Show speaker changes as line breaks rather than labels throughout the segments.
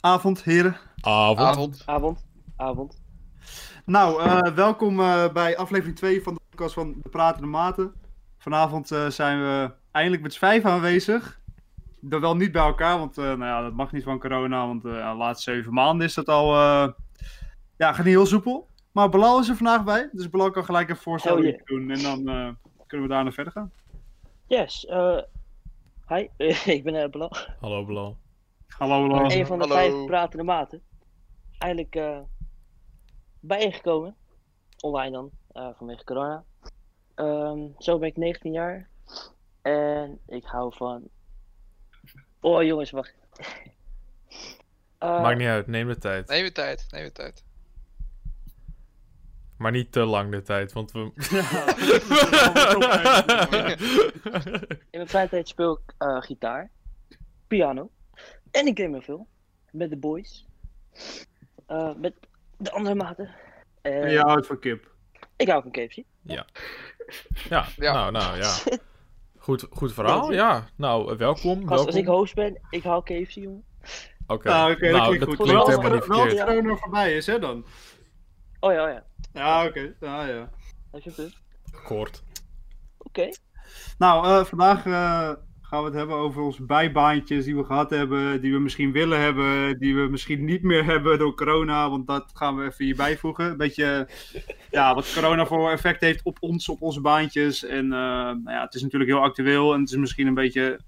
avond heren.
Avond.
Avond.
Avond. Avond.
Nou, eh, welkom eh, bij aflevering 2 van de podcast van De Pratende Maten. Vanavond eh, zijn we eindelijk met z'n vijf aanwezig. Dan wel niet bij elkaar, want eh, nou ja, dat mag niet van corona, want eh, de laatste zeven maanden is dat al... eh, ja, gaat niet heel soepel. Maar Belal is er vandaag bij, dus Belal kan gelijk een voorstel
Oh,
Hell yeah.
doen en dan eh, kunnen we daarna verder gaan.
Yes, eh hi, ik ben eh Belal.
Hallo Belal.
Hallo, hallo.
Een van de
Hallo.
vijf pratende maten. Eindelijk eh, bijeengekomen. Online dan, eh, vanwege corona. Ehm, zo ben ik 19 jaar. En ik hou van... Oh jongens, wacht. Eh,
Maakt niet uit, neem de tijd.
Neem je tijd, neem je tijd.
Maar niet te lang de tijd, want we...
In mijn vrije tijd speel ik eh, gitaar, piano en ik game er veel. Met de boys. Eh, met de andere maten. En
Je houdt van kip.
Ik hou van KFC.
ja,
Ja.
nou, nou, ja. Goed, goed verhaal, ja. Nou, eh, welkom,
Gast,
welkom.
als ik host ben, ik hou KFC, jongen.
Oké,
Nou, oké, dat
nou,
klinkt
dat
goed.
klinkt
Wel als
helemaal niet
er- wel als
verkeerd.
corona voorbij is, hè dan?
Oh ja, oh ja.
Ja, oké. Ja, ja.
Heb je een punt?
Kort.
Oké.
Nou, eh, vandaag eh, gaan we het hebben over onze bijbaantjes die we gehad hebben, die we misschien willen hebben, die we misschien niet meer hebben door corona, want dat gaan we even hier bijvoegen. Een beetje eh, ja, wat corona voor effect heeft op ons, op onze baantjes. En eh, nou ja, het is natuurlijk heel actueel en het is misschien een beetje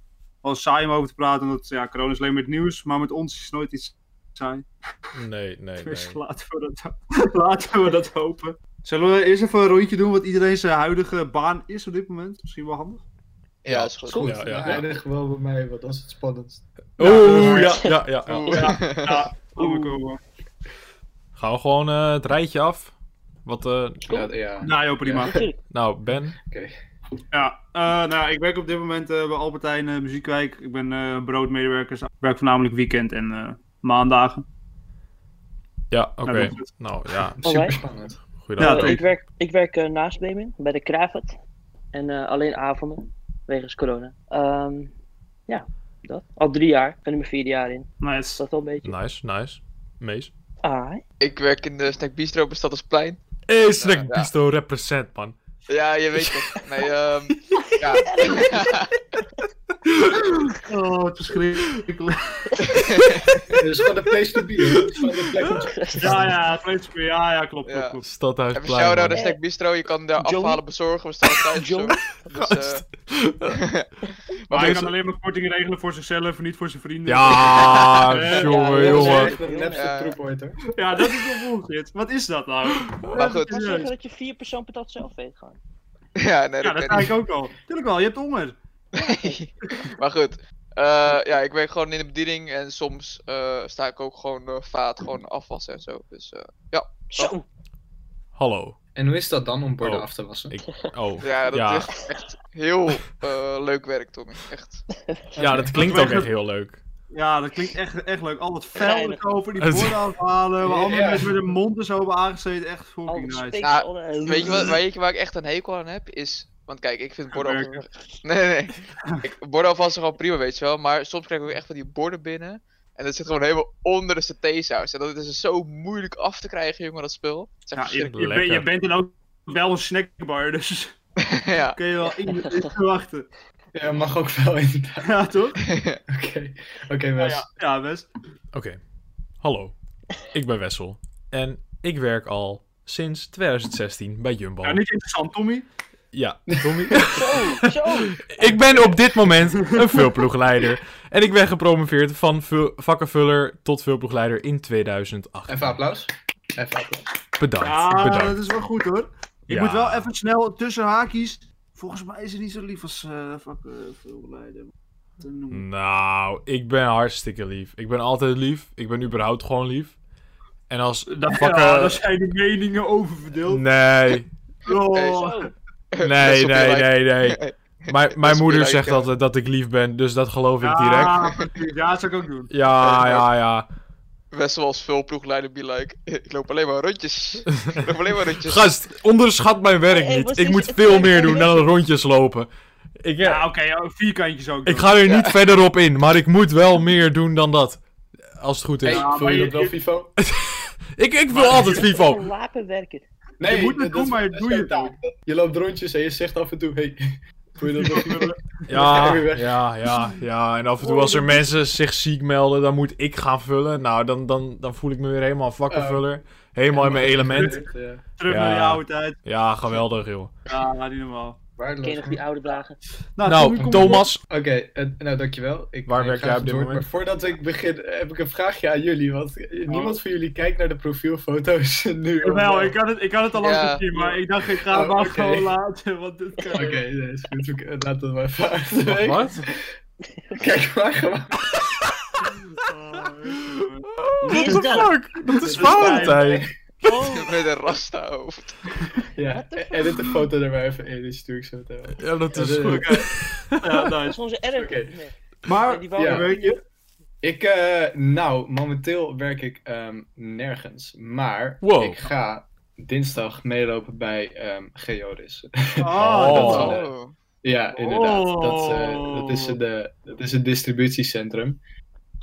wel saai om over te praten, omdat ja, corona is alleen maar het nieuws, maar met ons is nooit iets saai.
Nee, nee,
Dus
nee.
laten we, dat, laten we dat hopen. Zullen we eerst even een rondje doen wat iedereen zijn huidige baan is op dit moment? Misschien wel handig.
Ja, is goed.
Ja, ja, ja.
eindig wel bij mij, want dat is het spannendst.
Oeh, ja, ja, ja. ja.
Oeh.
Laat maar komen.
Gaan we gewoon eh, het rijtje af? Wat, eh,
Ja, ja.
Nou, joh, prima. Ja,
Natuurlijk.
nou, Ben,
eh, nou, ja, ik werk op dit moment eh, bij Albertijn eh, Muziekwijk. Ik ben eh broodmedewerker. Ik werk voornamelijk weekend en eh, maandagen.
ja, oké.
Nou, dat is
Nou, ja,
Alright.
Super spannend.
Ja,
goeiedag.
Eh,
toch.
ik werk, ik werk eh, naast Bremen, bij de Kravat. En eh, alleen avonden, wegens corona. Ehm, ja, dat. Al drie jaar. Ik ben er mijn vierde jaar in. Is
Nice.
dat wel een beetje?
Nice, nice. Mees.
Ah, hè?
Ik werk in de Snack Bistro op het Stadhuisplein.
Hey, Snack
ja.
Bistro represent, man.
Ja, je weet het. Nee, ehm ja.
Oh, het verschrikkelijk.
Het is gewoon de place to be. Het is gewoon de plek om te-
Ja, ja, het leeft weer. Ja, ja, klopt,
Ja.
klopt, klopt.
Stadhuis
Even shout out naar
man.
Snack Bistro. Je kan daar
John?
afhalen, bezorgen. We staan thuis.
John?
Dus, eh
Maar hij
deze-
kan alleen maar kortingen regelen voor zichzelf en niet voor zijn vrienden.
Ja,
Eh,
jongen,
ja,
Dat is
jongen.
echt een nepste
Ja.
troep ooit, hoor.
Ja, dat is wel bullshit. Wat is dat nou?
maar goed.
Kan zeggen dat je vier persoon per dag zelf weet gaan.
ja, nee,
Ja, dat
dat
zei
kan
ik ook al. Tuurlijk wel, je hebt honger.
niet. maar goed. Eh, ja, ik werk gewoon in de bediening. En soms eh, sta ik ook gewoon eh, vaat. Gewoon afwassen en zo. Dus eh,
Zo!
Hallo.
En hoe is dat dan om borden
Oh.
af te wassen?
Ik, oh,
ja, dat
Ja.
is echt heel eh, leuk werk, Tommy. Echt.
ja, dat klinkt ook echt heel leuk.
Ja, dat klinkt echt, echt leuk. Al dat vuil
Geinig.
erover, die
Het-
borden afhalen, waar
Ja.
andere mensen met hun mond er zo hebben aangezeten. Echt
Al eh,
fucking
het
nice.
speeksel,
Nou,
alle-
Weet je, wat, weet je waar ik echt een hekel aan heb? Is. Want kijk, ik vind borden
Werken.
ook- Nee, nee, nee. Ik, borden alvast gewoon prima, weet je wel. Maar soms krijg ik ook echt van die borden binnen. En dat zit gewoon helemaal onder de satésaus. En dat is dus zo moeilijk af te krijgen, jongen, dat spul. Het is echt
Ja, je, je,
Lekker.
bent- je bent dan ook wel een snackbar, dus
verschrikkelijk. ja.
kun je wel in verwachten.
Ja, mag ook wel inderdaad.
Ja, toch?
Oké, oké, Wes.
Nou Ja, ja best.
Oké. Hallo. Ik ben Wessel. En ik werk al sinds 2016 bij Jumbo.
Ja, niet interessant, Tommy.
Ja, Tommy.
Zo! Zo!
ik ben op dit moment een vulploegleider. En ik ben gepromoveerd van vul- vakkenvuller tot vulploegleider in 2008.
Even applaus. Even applaus.
Bedankt,
Ja, dat
bedankt.
is wel goed hoor. Je
Ja.
Ah, moet wel even snel tussen haakjes. Volgens mij is het niet zo lief als eh vak, eh, veelbeleider. Te noemen.
Nou, ik ben hartstikke lief. Ik ben altijd lief. Ik ben überhaupt gewoon lief. En als vakken...
Ja, daar zijn de meningen over
Mm.
verdeeld.
Nee,
Oh.
nee,
Best wel
nee,
veel
nee, nee.
like.
Mijn, mijn
is
moeder
weer
zegt
like,
altijd dat ik lief ben, dus dat geloof ik direct.
Ja, precies. ja, dat zou ik ook doen.
Ja, ja, ja.
Best wel als vulploegleider be like. Ik loop alleen maar rondjes. Ik loop alleen maar
Dus-
rondjes.
Gast, onderschat mijn werk
Hey, hey,
niet.
was
Ik
dit
moet
het
veel
werk
meer
van
doen dan rondjes lopen. Ik, eh,
Ja, oké, ja, oh, vierkantjes ook.
ik
doen.
ga er niet verder op in, maar ik moet wel meer doen dan dat. Als het goed is.
Hey.
Ja,
maar
vond je
je-
dat wel,
je-
FIFO?
Ik, ik wil altijd
Wat
FIFO.
een wapenwerker.
Nee,
je moet het
dat-
doen, maar
dat
het
is
doe
jouw
je
taak. Je loopt rondjes en je zegt af en toe, hey, vond je dat wel FIFO?
Ja,
ga je weg.
ja, ja, ja. En af en toe als er mensen zich ziek melden, dan moet ik gaan vullen. Nou, dan, dan, dan voel ik me weer helemaal vakkenvuller. Helemaal in mijn element.
Ja,
Terug
Ja.
naar die oude tijd.
Ja, geweldig, joh.
Ja, niet normaal.
Ik ken
waardeloos.
nog die oude dagen.
Tommy,
Nou,
kom-
Thomas.
Oké, eh, nou dankjewel. Ik,
Waar
ik
werk
ga
jij op
even
dit
door,
moment?
Maar voordat ik begin, heb ik een vraagje aan jullie. Want niemand van jullie kijkt naar de profielfoto's nu.
Oh. Jawel,
online.
ik had het, ik had het al lang
Ja.
gezien, maar ik dacht ik ga het
Oh,
maar
oké.
gewoon laten, want dit kan...
Oké, nee, is goed. Ik- eh, Laat dat maar even uit de
Wacht,
weg.
Wat?
Kijk maar gewoon.
What the fuck? Dat is Valentijn.
Met een rasta hoofd.
Ja, e- edit de foto er maar even in. Die stuur ik zo meteen wel.
Ja, dat is
Ja,
goed.
dat-
ja,
Dat is
nice.
onze erf.
Oké. Ah,
Nee.
Maar,
Ja, die wouden-
ja, weet je,
Ik, eh, nou, momenteel werk ik ehm, nergens. Maar
Wow.
ik ga dinsdag meelopen bij ehm Geodis.
Oh,
Oh.
dat
is
is
wel-
wel-
ja, inderdaad.
Oh.
Dat, eh, dat,
Oh.
is een, eh, dat is een distributiecentrum.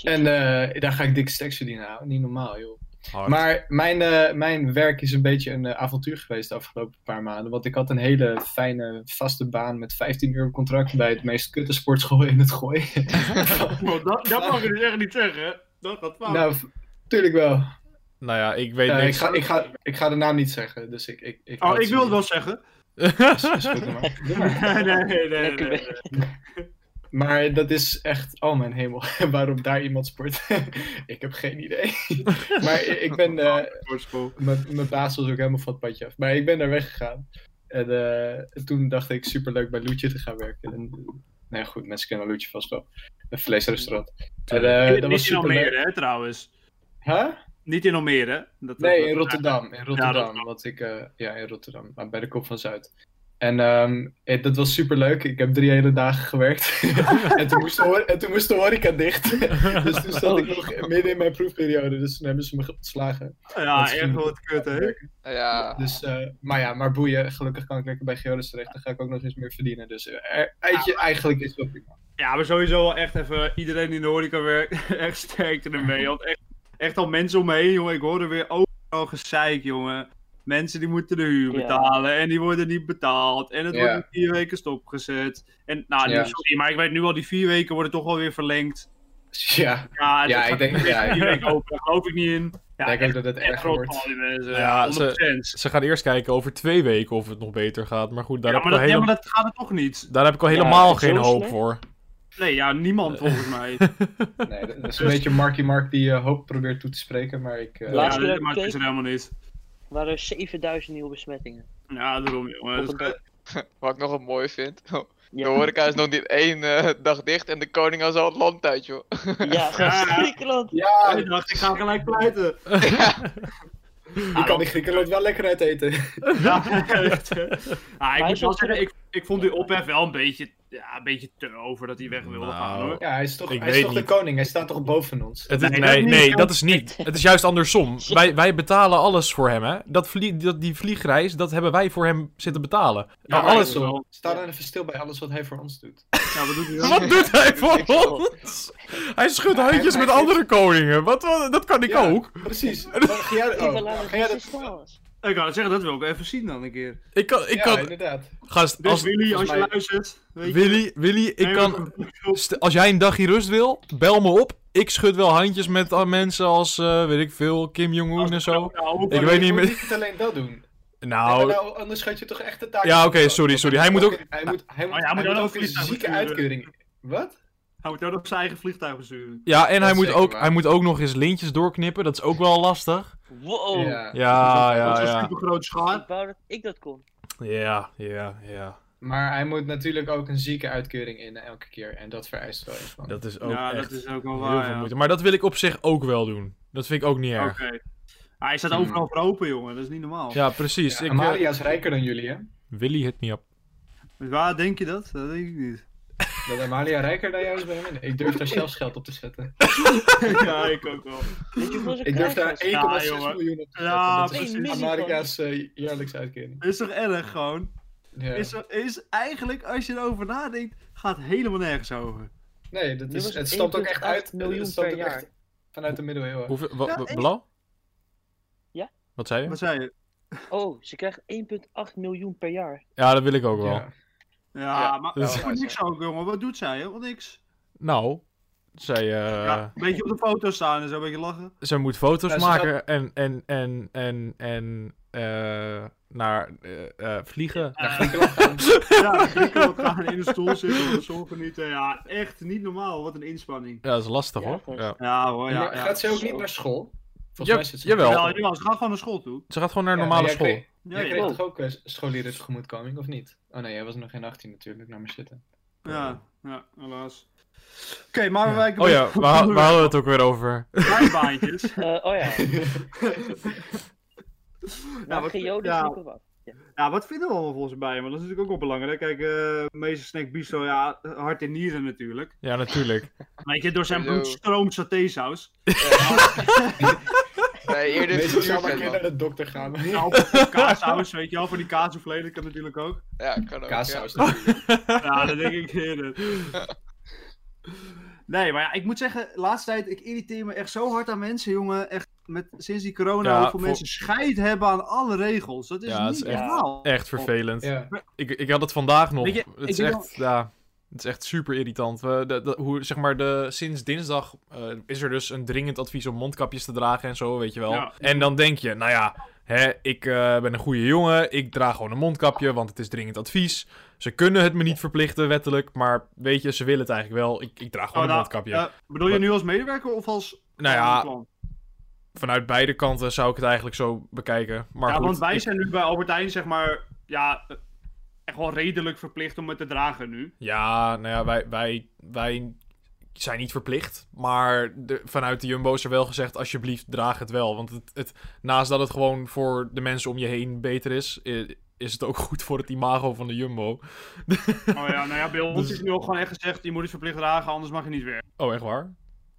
En eh, daar ga ik dikke seks verdienen. nou, Niet normaal, joh.
Hard.
Maar mijn, eh, mijn werk is een beetje een eh, avontuur geweest de afgelopen paar maanden. Want ik had een hele fijne vaste baan met 15 uur contract bij het meest kutte sportschool in het gooi.
Want dat, dat mag je dus echt niet zeggen, hè? Dat gaat fout.
nou, v- tuurlijk wel.
Nou ja, ik weet
Eh, ik,
niks.
ga, ik, ga, ik ga de naam niet zeggen. Dus ik, ik, ik
oh, ik wil het wel zeggen.
Is goed, doe maar. Doe
nee,
maar.
nee, nee. nee,
Lekker
nee.
Maar dat is echt, oh mijn hemel, waarom daar iemand sport? ik heb geen idee. maar ik ik ben, eh,
Sportschool.
Mijn, mijn baas was ook helemaal van het padje af. Maar ik ben daar weggegaan. En eh, toen dacht ik superleuk bij Loetje te gaan werken. En, nee, goed, mensen kennen Loetje vast wel. Een vleesrestaurant. En, eh, dat was
niet in
superleuk.
Almere, hè, trouwens.
Huh?
Niet in Almere. Dat
Nee,
dat-
in Rotterdam. In Rotterdam.
Rotterdam.
want ik, eh, ja, in Rotterdam. Maar bij de Kop van Zuid. En ehm, eh, dat was superleuk. Ik heb drie hele dagen gewerkt. en, toen moest de hor- en toen moest de horeca dicht. dus toen zat ik nog midden in mijn proefperiode. Dus toen hebben ze me geslagen.
Ja,
Dat is
echt wat kut, hè?
Ja.
Dus, eh, maar ja, maar boeien. Gelukkig kan ik lekker bij Geodis terecht. Dan ga ik ook nog eens meer verdienen. Dus eh, er- eitje, eigenlijk is het wel prima.
Ja, maar sowieso wel echt even iedereen die in de horeca werkt, echt sterkte ermee. Want echt, echt al mensen om me heen, jongen. Ik hoorde weer overal gezeik, jongen. Mensen die moeten de huur
Ja.
betalen en die worden niet betaald. En het
Ja.
wordt in vier weken stopgezet. En nou, nu,
Ja.
sorry, maar ik weet nu al, die vier weken worden toch alweer verlengd.
Dus Ja,
Ja, het-
Ja,
het
ik
gaat
denk-
echt
ja, ik-
vier weken open, daar geloof ik niet in. Ja,
ik denk ook dat het
echt
erger
groot eh,
wordt.
van die mensen.
Ja,
Ja, 100%.
ze- Ze gaan eerst kijken over twee weken of het nog beter gaat. Maar goed, daar,
ja,
heb,
maar
ik
dat,
al
ja,
hele-
maar dat gaat het toch niet?
daar heb ik al
Ja,
helemaal
het is
geen
zo
hoop
slecht.
voor.
Nee, ja, niemand volgens mij.
Nee, dat is een
Dus-
beetje Marky Mark die eh, hoop probeert toe te spreken. Maar ik. eh,
Laatst-
Ja,
Laatste keer
dat
dat ik
maakt het
keek-
er helemaal niet.
Er waren 7000 nieuwe besmettingen.
Ja, daarom, jongen. Dat
Op
is-
Wat ik nog een mooi vind. De
Ja,
horeca is nog niet één eh, dag dicht en de koning was al het land uit, joh.
ja gast,
Ah.
Griekenland.
ja,
Ik dacht, ik ga gelijk pleiten.
je kan in Griekenland wel lekker uit eten.
Ja, echt. hè. Ah, ik
hij
moet
is
wel
wel
zeggen, ik, ik vond die ophef wel een beetje, ja, een beetje te over dat hij weg wilde
Nou,
gaan hoor.
Ja, hij is toch,
Ik
hij is
weet
toch de
niet.
koning. Hij staat toch boven ons.
Het is, nee,
Nee,
nee,
dat niet.
dat is niet. Het is juist andersom. Wij, wij betalen alles voor hem, hè. Dat vlie, dat, die vliegreis, dat hebben wij voor hem zitten betalen.
Ja,
Nou, alles,
dat is wel-
Sta dan even stil bij alles wat hij voor ons doet.
Ja, wat doet hij dan?
wat doet hij
Niks aan de
voor
hand.
ons? Hij schudt handjes met andere koningen. Wat, wat- dat kan ik
Ja.
ook.
Precies. Ga jij,
Even
oh,
laten
ga jij
het
dat...
staan was.
Ik kan het zeggen, dat wil ik even zien dan een keer.
Ik kan, ik
ja,
kan,
inderdaad.
gast,
Dus
als,
Willy, als je
volgens mij-
luistert, weet je...
Willy, Willy, ik
Nee,
kan,
want- Wil-
St- Als jij een dagje rust wil, bel me op. Ik schud wel handjes met eh, mensen als, eh, weet ik veel, Kim Jong-un en zo.
Nou,
Ik weet
je
niet
moet
meer.
niet alleen dat doen. Nee,
Nou,
maar nou, anders gaat je toch echt de taak.
Ja, oké,
af.
sorry, sorry. Hij moet ook-
Hij moet, hij moet,
Oh ja, hij moet
hij moet
ook
ook een
vliegtuig
zieke
besturen.
uitkeuring. Wat?
Hij moet ook nog zijn eigen vliegtuig besturen.
ja, en
dat
hij
is
moet,
zeker
ook,
waar.
hij moet ook nog eens lintjes doorknippen. Dat is ook wel lastig.
Wow.
Ja,
dat
ja,
is een
ja.
super groot
Ik
schaar.
wou dat ik dat kon.
Ja, ja, ja.
Maar hij moet natuurlijk ook een zieke uitkeuring in elke keer. En dat vereist wel iets van.
Dat is ook
Ja,
echt
dat is ook wel
heel
waar,
veel
ja.
moeite. Maar dat wil ik op zich ook wel doen. Dat vind ik ook niet
Oké.
erg.
Ah, hij staat overal voor open, jongen. Dat is niet normaal.
Hmm. Ja, precies.
Ja,
ik, eh,
Amalia is rijker dan jullie, hè?
Willy hit me up.
Dus Waar denk je dat? Dat denk ik niet.
Dat Amalia rijker dan jou is bij hem. Ik durf daar zelfs geld op te zetten.
ja, ik ook wel.
Weet je hoeveel ze
Ik durf daar 1,6
krijgen?
jongen.
miljoen op te zetten.
Ja,
dat
precies.
is
Eén miljoen.
Amalia's eh, jaarlijkse uitkering.
Is toch erg gewoon?
Ja.
Is, er, is eigenlijk, als je erover nadenkt, gaat helemaal nergens over.
Nee, dat
Dit
is,
was
het stamt ook echt
1,8
uit.
miljoen
het stamt
per
ook echt
jaar.
Vanuit de middeleeuwen.
Hoeveel, wa-
Ja,
wa-
en-
Bilal?
Ja?
Wat zei je?
Wat zei je?
Oh, ze krijgt 1,8 miljoen per jaar.
Ja, dat wil ik ook wel.
Ja.
Ja,
Ja,
maar
dat is-
voor niks ook, jongen. Wat doet zij? Helemaal niks.
Nou, zij, eh,
Ja, een beetje op de foto staan en zo, een beetje lachen.
zij moet foto's
Nou, ze
maken en, en, en, en, en eh, naar eh, eh, vliegen.
Naar Griekenland gaan.
Ja, ik gaan in de stoel zitten, van de zon genieten. Ja, echt niet normaal. Wat een inspanning.
Ja, dat is lastig
Ja,
hoor.
gewoon-
Ja.
Ja hoor, Oh ja.
Maar
ja.
Gaat ze ook
Zo.
niet naar school? Volgens
Ja,
mij zit ze
jawel.
Ja, jongens, ga gewoon naar school toe.
Ze gaat gewoon naar
Ja,
normale
maar jij
school.
kreeg-
Ja,
Jij
ja.
kreeg
ja.
toch ook eh, scholieren tegemoetkoming, of niet? Oh nee, jij was nog geen 18 natuurlijk, naar me zitten.
Ja, ja, helaas. Oké, maar we
Ja.
wijken
Oh
een
ja,
beetje
waar, waar
van de
hadden we het ook weer over?
Bijbaantjes.
Eh, oh ja,
Ja,
nou,
wat-
geoden
ja.
snoepen wat.
Ja, wat vinden we allemaal volgens bij? Maar dat is natuurlijk ook wel belangrijk. Kijk, eh meester Snack Bistro, ja, hart en nieren natuurlijk.
Ja, natuurlijk.
Weet je, door zijn
Hallo.
bloed stroomt satésaus.
Nee, eerder
Meestal zou ik een
vuurvet,
keer
man.
naar de dokter gaan.
Ja, of- of kaassaus, weet je wel, van die kaassoeflé, dat kan natuurlijk ook.
Ja, kan ook. ja.
Kaassaus.
Ja, dat denk ik eerder. Nee, maar ja, ik moet zeggen, laatste tijd, ik irriteer me echt zo hard aan mensen, jongen. Echt, met, sinds die corona,
Ja,
hoeveel
voor-
mensen scheid hebben aan alle regels. Dat is
Ja, het
niet
is echt-
normaal.
Echt vervelend.
Ja.
Ik, ik had het vandaag nog.
Weet je,
het,
ik
is
denk
echt, ja, het is echt super irritant. We, de, de- hoe, zeg maar, de, sinds dinsdag eh, is er dus een dringend advies om mondkapjes te dragen en zo, weet je wel.
Ja.
En dan denk je, nou ja, hè, ik eh, ben een goede jongen, ik draag gewoon een mondkapje, want het is dringend advies. Ze kunnen het me niet verplichten wettelijk, maar weet je, ze willen het eigenlijk wel. Ik, ik draag gewoon
Oh,
een
nou,
mondkapje.
eh, bedoel je nu als medewerker of als
Nou ja,
klant?
Vanuit beide kanten zou ik het eigenlijk zo bekijken. Maar
ja,
goed,
want wij
ik-
zijn nu bij Albert Heijn, zeg maar, ja, eh, echt wel redelijk verplicht om het te dragen nu.
Ja, nou ja, wij, wij, wij zijn niet verplicht. Maar de, vanuit de Jumbo is er wel gezegd: alsjeblieft, draag het wel. Want het, het, naast dat het gewoon voor de mensen om je heen beter is, i- is het ook goed voor het imago van de Jumbo.
Oh ja, nou ja, bij ons
Dus-
is nu ook gewoon echt gezegd, je moet het verplicht dragen, anders mag je niet weer.
Oh, echt waar?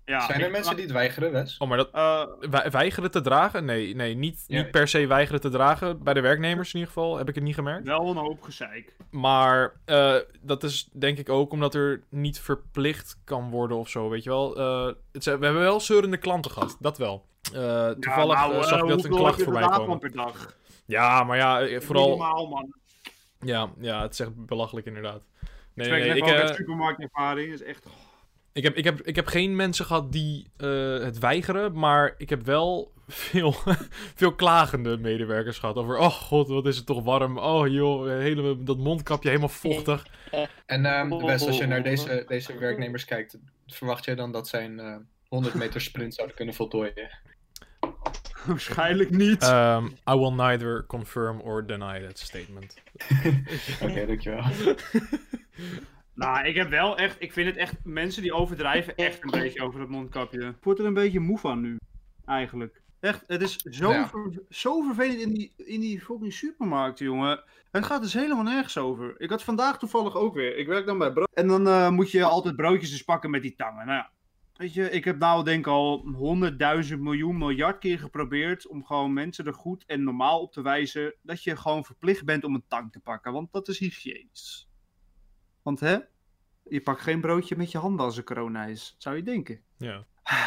Ja,
Zijn er
ik-
mensen die het weigeren, Wes?
Oh, maar dat.
eh,
wij- Weigeren te dragen? Nee, nee niet,
Ja.
niet per se weigeren te dragen. Bij de werknemers in ieder geval heb ik het niet gemerkt.
wel een hoop gezeik.
Maar eh, dat is denk ik ook omdat er niet verplicht kan worden of zo, weet je wel. Eh, het zijn- we hebben wel zeurende klanten gehad, dat wel. Eh, toevallig
nou,
eh,
eh,
zag ik dat
hoeveel
een klacht
heb je er
voorbij
daarvan
kwam.
per dag?
Ja, maar ja, eh, vooral...
Normaal, man.
Ja, ja, het is echt belachelijk inderdaad. Nee,
Ik
nee,
heb
nee, ik,
ook
eh,
echt supermarktervaring, is echt...
ik, heb, ik, heb, ik heb geen mensen gehad die eh, het weigeren, maar ik heb wel veel, veel klagende medewerkers gehad over... Oh god, wat is het toch warm. Oh joh, hele, dat mondkapje helemaal vochtig.
En ehm,
Oh.
Wes, als je naar deze, deze werknemers kijkt, verwacht jij dan dat zij een eh, 100 meter sprint zouden kunnen voltooien?
Waarschijnlijk niet.
Um, I will neither confirm or deny that statement.
Oké, dankjewel.
Nou, ik heb wel echt... Ik vind het echt... Mensen die overdrijven echt een beetje over dat mondkapje. Ik word er een beetje moe van nu. Eigenlijk. Echt, het is zo,
Ja.
ver- zo vervelend in die, in die fucking supermarkt, jongen. Het gaat dus helemaal nergens over. Ik had vandaag toevallig ook weer. Ik werk dan bij brood. En dan eh, moet je altijd broodjes dus pakken met die tangen. Nou ja, weet je, ik heb nou denk ik al 100.000 miljoen miljard keer geprobeerd om gewoon mensen er goed en normaal op te wijzen dat je gewoon verplicht bent om een tang te pakken. Want dat is hygiënisch. Want hè, je pakt geen broodje met je handen als er corona is, zou je denken.
Ja.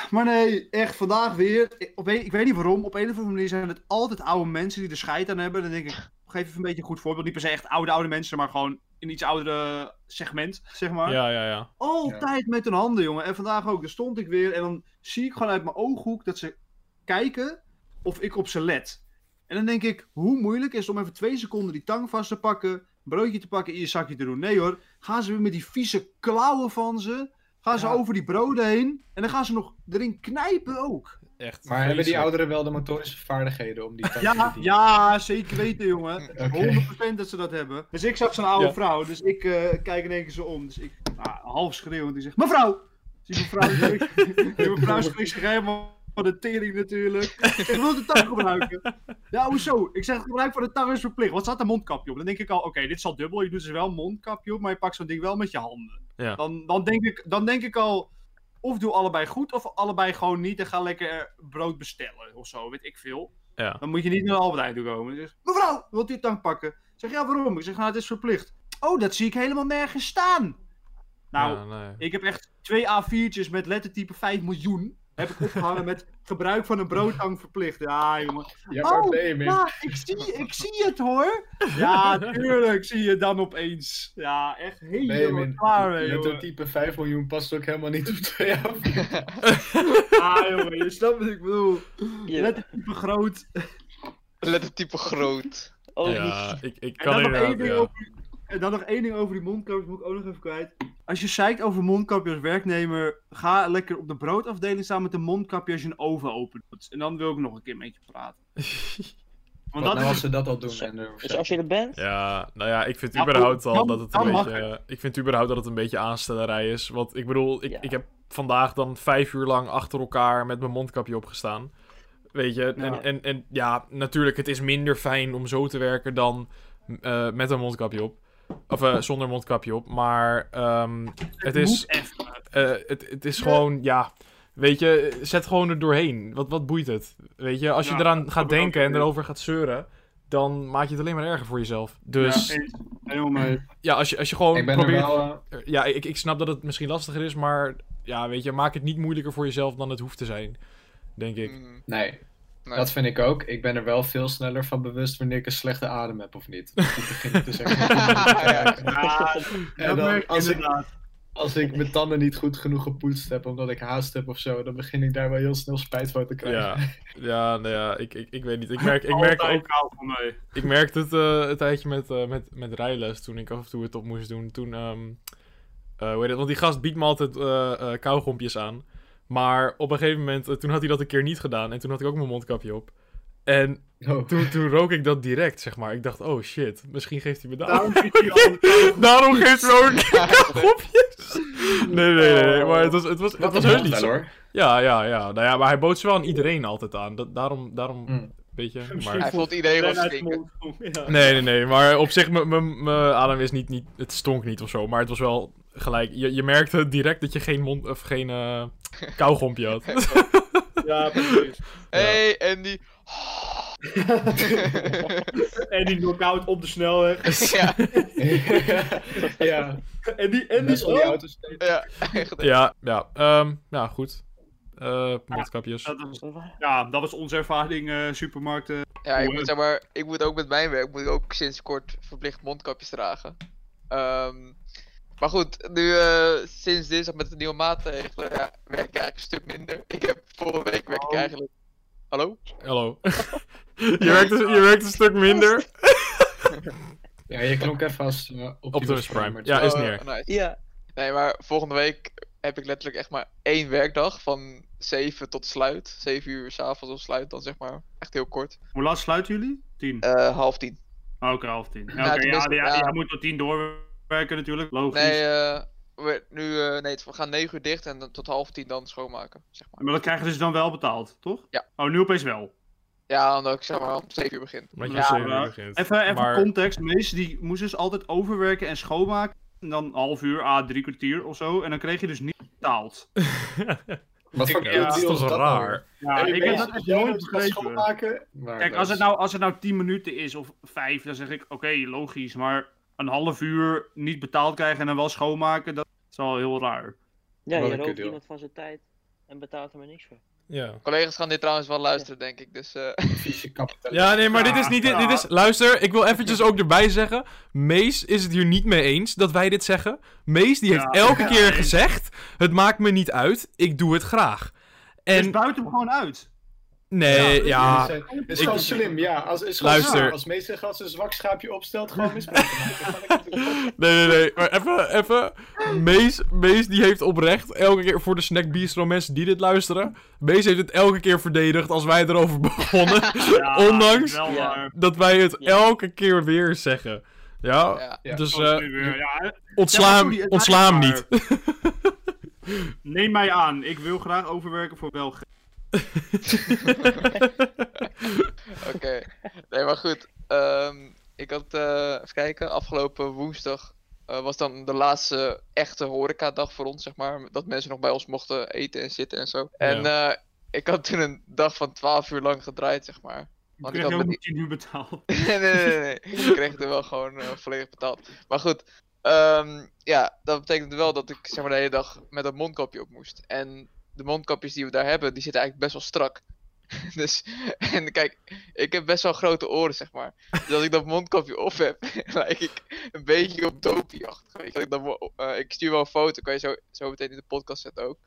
Maar nee, echt vandaag weer. Ik, op een- ik weet niet waarom. Op een of andere manier zijn het altijd oude mensen die er scheid aan hebben. Dan denk ik, geef even een beetje een goed voorbeeld. Niet per se echt oude, oude mensen, maar gewoon een iets oudere segment, zeg maar.
ja, ja, ja.
Altijd met hun handen, jongen. En vandaag ook. Daar stond ik weer. En dan zie ik gewoon uit mijn ooghoek dat ze kijken of ik op ze let. En dan denk ik, hoe moeilijk is het om even twee seconden die tang vast te pakken. Een broodje te pakken, in je zakje te doen. Nee hoor. Gaan ze weer met die vieze klauwen van ze. Gaan ze
Ja.
over die broden heen. En dan gaan ze nog erin knijpen ook.
Echt.
Maar hebben die
vreselijk.
ouderen wel de motorische vaardigheden om die taak
Ja,
te dienen?
ja, zeker weten, jongen.
Oké.
100% dat ze dat hebben. Dus ik zag zo'n oude
Ja.
vrouw, dus ik eh, kijk in één keer zo om. Dus ik, nou, half schreeuwend, die zegt: Mevrouw! Die mevrouw, die mevrouw spreekt zich helemaal van de tering natuurlijk. Ik wil de tang gebruiken. Ja, hoezo? Ik zeg: het gebruik van de tang is verplicht. Wat staat een mondkapje op? Dan denk ik al: oké, dit is al dubbel. Je doet dus wel een mondkapje op, maar je pakt zo'n ding wel met je handen.
Ja.
Dan, dan, denk ik, dan denk ik al. Of doe allebei goed, of allebei gewoon niet en ga lekker eh, brood bestellen of zo, weet ik veel.
Ja.
Dan moet je niet naar de Albert Heijn toe komen. Ze zegt, mevrouw, wilt u het tang pakken? Ik zeg, ja, waarom? Ik zeg, nou, het is verplicht. Oh, dat zie ik helemaal nergens staan. Nou,
Ja, nee.
ik heb echt twee A4'tjes met lettertype 5 miljoen. Heb ik opgehangen met gebruik van een broodtang verplicht. Ja, jongen.
Ja, maar
Oh,
nee, man.
Ja, ik zie, ik zie het hoor. Ja, tuurlijk zie je dan opeens. Ja, echt
Nee,
helemaal
man.
klaar mee,
Met een
jongen.
type 5 miljoen past ook helemaal niet op twee af.
Ah, jongen, je snapt wat ik bedoel. Net een type groot.
Lettertype groot.
Oh,
ja, ik, ik
En
kan
dan, nog één
inderdaad...
ding
Ja.
over, en dan nog één ding over die mondkapjes, moet ik ook nog even kwijt. Als je zeikt over mondkapje als werknemer, ga lekker op de broodafdeling staan met een mondkapje als je een oven opent. En dan wil ik nog een keer met je praten. Want
Wat
dat
nou
is
als ze dat al doen?
Zo-
En, eh,
Dus als je er bent,
Ja, nou ja, ik vind
Ja,
überhaupt
dan-
al dat het een
dan mag
beetje... Ik vind überhaupt dat het een beetje aanstellerij is. Want ik bedoel, ik,
Ja.
ik heb vandaag dan vijf uur lang achter elkaar met mijn mondkapje opgestaan. Weet je, en
Ja.
ja, en, en, ja natuurlijk, het is minder fijn om zo te werken dan eh, met een mondkapje op. Of eh, zonder mondkapje op, maar ehm, het is...
moet echt.
Eh, het, het is gewoon, ja. Weet je, zet gewoon er doorheen. Wat, wat boeit het? Weet je, als je
Ja,
eraan
dat
gaat
bedoel ik
denken en
ook.
erover gaat zeuren, dan maak je het alleen maar erger voor jezelf. Dus
Dus...
ja,
Helemaal mee.
als, je, als je gewoon
ik ben er
probeert.
wel... eh,
Ja, ik, ik snap dat het misschien lastiger is, maar ja, weet je, maak het niet moeilijker voor jezelf dan het hoeft te zijn. Denk ik.
Mm,
nee,
nee.
dat vind ik ook. Ik ben er wel veel sneller van bewust wanneer ik een slechte adem heb of niet. Dan begin ik te zeggen...
Ja,
En
dat merk
dan,
je
als, ik,
inderdaad.
als ik mijn tanden niet goed genoeg gepoetst heb omdat ik haast heb of zo, dan begin ik daar wel heel snel spijt van te krijgen.
Ja, ja, nou ja ik, ik, ik weet niet. Ik merk, ik merk
Altijd
ook
kaal voor mij.
Ik merkte het eh, een tijdje met, eh, met, met rijles toen ik af en toe het op moest doen. Toen, ehm, eh, hoe heet het, want die gast biedt me altijd eh eh, kauwgompjes aan. Maar op een gegeven moment, eh, toen had hij dat een keer niet gedaan. En toen had ik ook mijn mondkapje op. En
Oh.
toen, toen rook ik dat direct, zeg maar. Ik dacht, oh shit, misschien geeft hij me daar.
Daarom zit je al
Daarom geeft hij me ook een keer kauwgompjes. Nee, nee, nee, nee. Maar het was, het was, het was heus niet
wel,
zo.
hoor.
Ja, ja, ja. Nou ja, maar hij bood ze wel aan iedereen altijd aan. Dat, daarom, daarom,
Mm.
weet je. Maar...
Misschien
Hij voelt iedereen wel
bijna uit
stinken.
mijn mond. Ja.
Nee, nee, nee. Maar op zich, mijn- mijn mijn adem is niet, niet... Het stonk niet of zo. Maar het was wel gelijk... Je, je merkte direct dat je geen mond... Of geen eh kauwgompje had.
Ja, precies.
Hey Andy.
En die knock-out op de snelweg.
ja,
ja,
En die, en
best
die,
wel die
oh,
auto's steeds.
ja, echt.
ja, ja. Ehm ja, goed. Eh mondkapjes.
dat was,
we waren-
ja, dat was onze ervaring, eh, supermarkten.
Ja, ik
Hoe,
moet,
eh?
zeg maar, ik moet ook met mijn werk moet ik ook sinds kort verplicht mondkapjes dragen. Ehm, maar goed, nu eh, sinds dinsdag met de nieuwe maatregelen ja, werk ik eigenlijk een stuk minder. Ik heb vorige week werk ik
Oh.
eigenlijk. Hallo?
Hallo. je, werkt een, je werkt een stuk minder.
ja, je klonk even als eh,
Optimus
Optimus
Prime.
Prime. maar
Ja, is
Oh,
neer.
nice.
ja.
Nee, maar volgende week heb ik letterlijk echt maar één werkdag van 7 tot sluit. 7 uur s'avonds of sluit dan zeg maar. Echt heel kort.
Hoe laat sluiten jullie? Tien. Oh,
Eh, half tien.
Oké, half tien. Oké, ja,
tenminste,
ja,
ja.
jij moet tot tien doorwerken natuurlijk, logisch.
Nee, eh, we, nu, eh, nee, we gaan 9 uur dicht en dan tot half tien dan schoonmaken. Zeg maar.
Maar dat krijgen ze dus dan wel betaald, toch?
eh, Ja.
Oh, nu opeens wel.
Ja, omdat ik zeg maar om 7 uur begin.
Omdat je
Ja,
om zeven uur
maar-
begint.
Even, even
Maar-
context, meesten die moesten dus altijd overwerken en schoonmaken. En dan een half uur, a drie kwartier of zo. En dan kreeg je dus niet betaald.
Wat voor
Ja,
deal
dat is
is
toch
dat nou weer?
raar.
Ja,
En
ik
weet
heb
je,
dat echt
jij
nooit
gaat
begrepen.
schoonmaken, maar
Kijk,
dat
als het,
is-
nou, als het nou 10 minuten is of 5, dan zeg ik oké, logisch. Maar een half uur niet betaald krijgen en dan wel schoonmaken, dat is wel heel raar.
ja je
Wat een
rookt
kutdeel.
iemand van zijn tijd en betaalt er maar niks voor.
Ja.
Collega's gaan dit trouwens wel luisteren, denk ik. Dus eh,
nou-
vieze kapitalist.
Ja, nee, maar dit is niet. Dit, dit is, luister, ik wil eventjes ook erbij zeggen. Mees is het hier niet mee eens dat wij dit zeggen. Mees die heeft
Ja.
elke keer gezegd: Het maakt me niet uit, ik doe het graag.
En...
En
Dus buiten hem gewoon uit.
nee, ja.
Het is- het is
Ik-
gewoon slim, ja. Als, is gewoon
Luister.
slim. Als meester als een zwak schaapje opstelt, gewoon misbruik. maken. Dan kan ik natuurlijk-
Nee, nee, nee. Maar even, even. Mees, Mees die heeft oprecht elke keer voor de Snack Bistro mensen die dit luisteren. Mees heeft het elke keer verdedigd als wij erover begonnen.
Ja,
Ondanks
Wel
Ja.
waar.
dat wij het
Ja.
elke keer weer zeggen. Ja,
ja.
Ja.
dus
Zoals
eh,
nu weer, ja.
ontsla
Ja, maar
hem-
sorry, het
ontsla hem niet.
maakt maar. Neem mij aan. Ik wil graag overwerken voor wel geld.
Oké. Nee, maar goed. ehm, ik had, eh, even kijken, afgelopen woensdag eh, was dan de laatste echte horecadag voor ons, zeg maar. Dat mensen nog bij ons mochten eten en zitten en zo. En eh, ik had toen een dag van 12 uur lang gedraaid, zeg maar.
Ik
Want ik
krijg
had
heel
met
niet nu betaald.
nee, nee, nee, nee. Ik kreeg er wel gewoon eh, volledig betaald. Maar goed, ehm, ja, dat betekent wel dat ik zeg maar, de hele dag met een mondkapje op moest. En de mondkapjes die we daar hebben, die zitten eigenlijk best wel strak. Dus, en kijk, ik heb best wel grote oren, zeg maar. Dus als ik dat mondkapje op heb, lijk ik een beetje op dopieachtig. Weet je, dat ik, dan wel- eh, ik stuur wel een foto, kan je zo, zo meteen in de podcast zetten ook.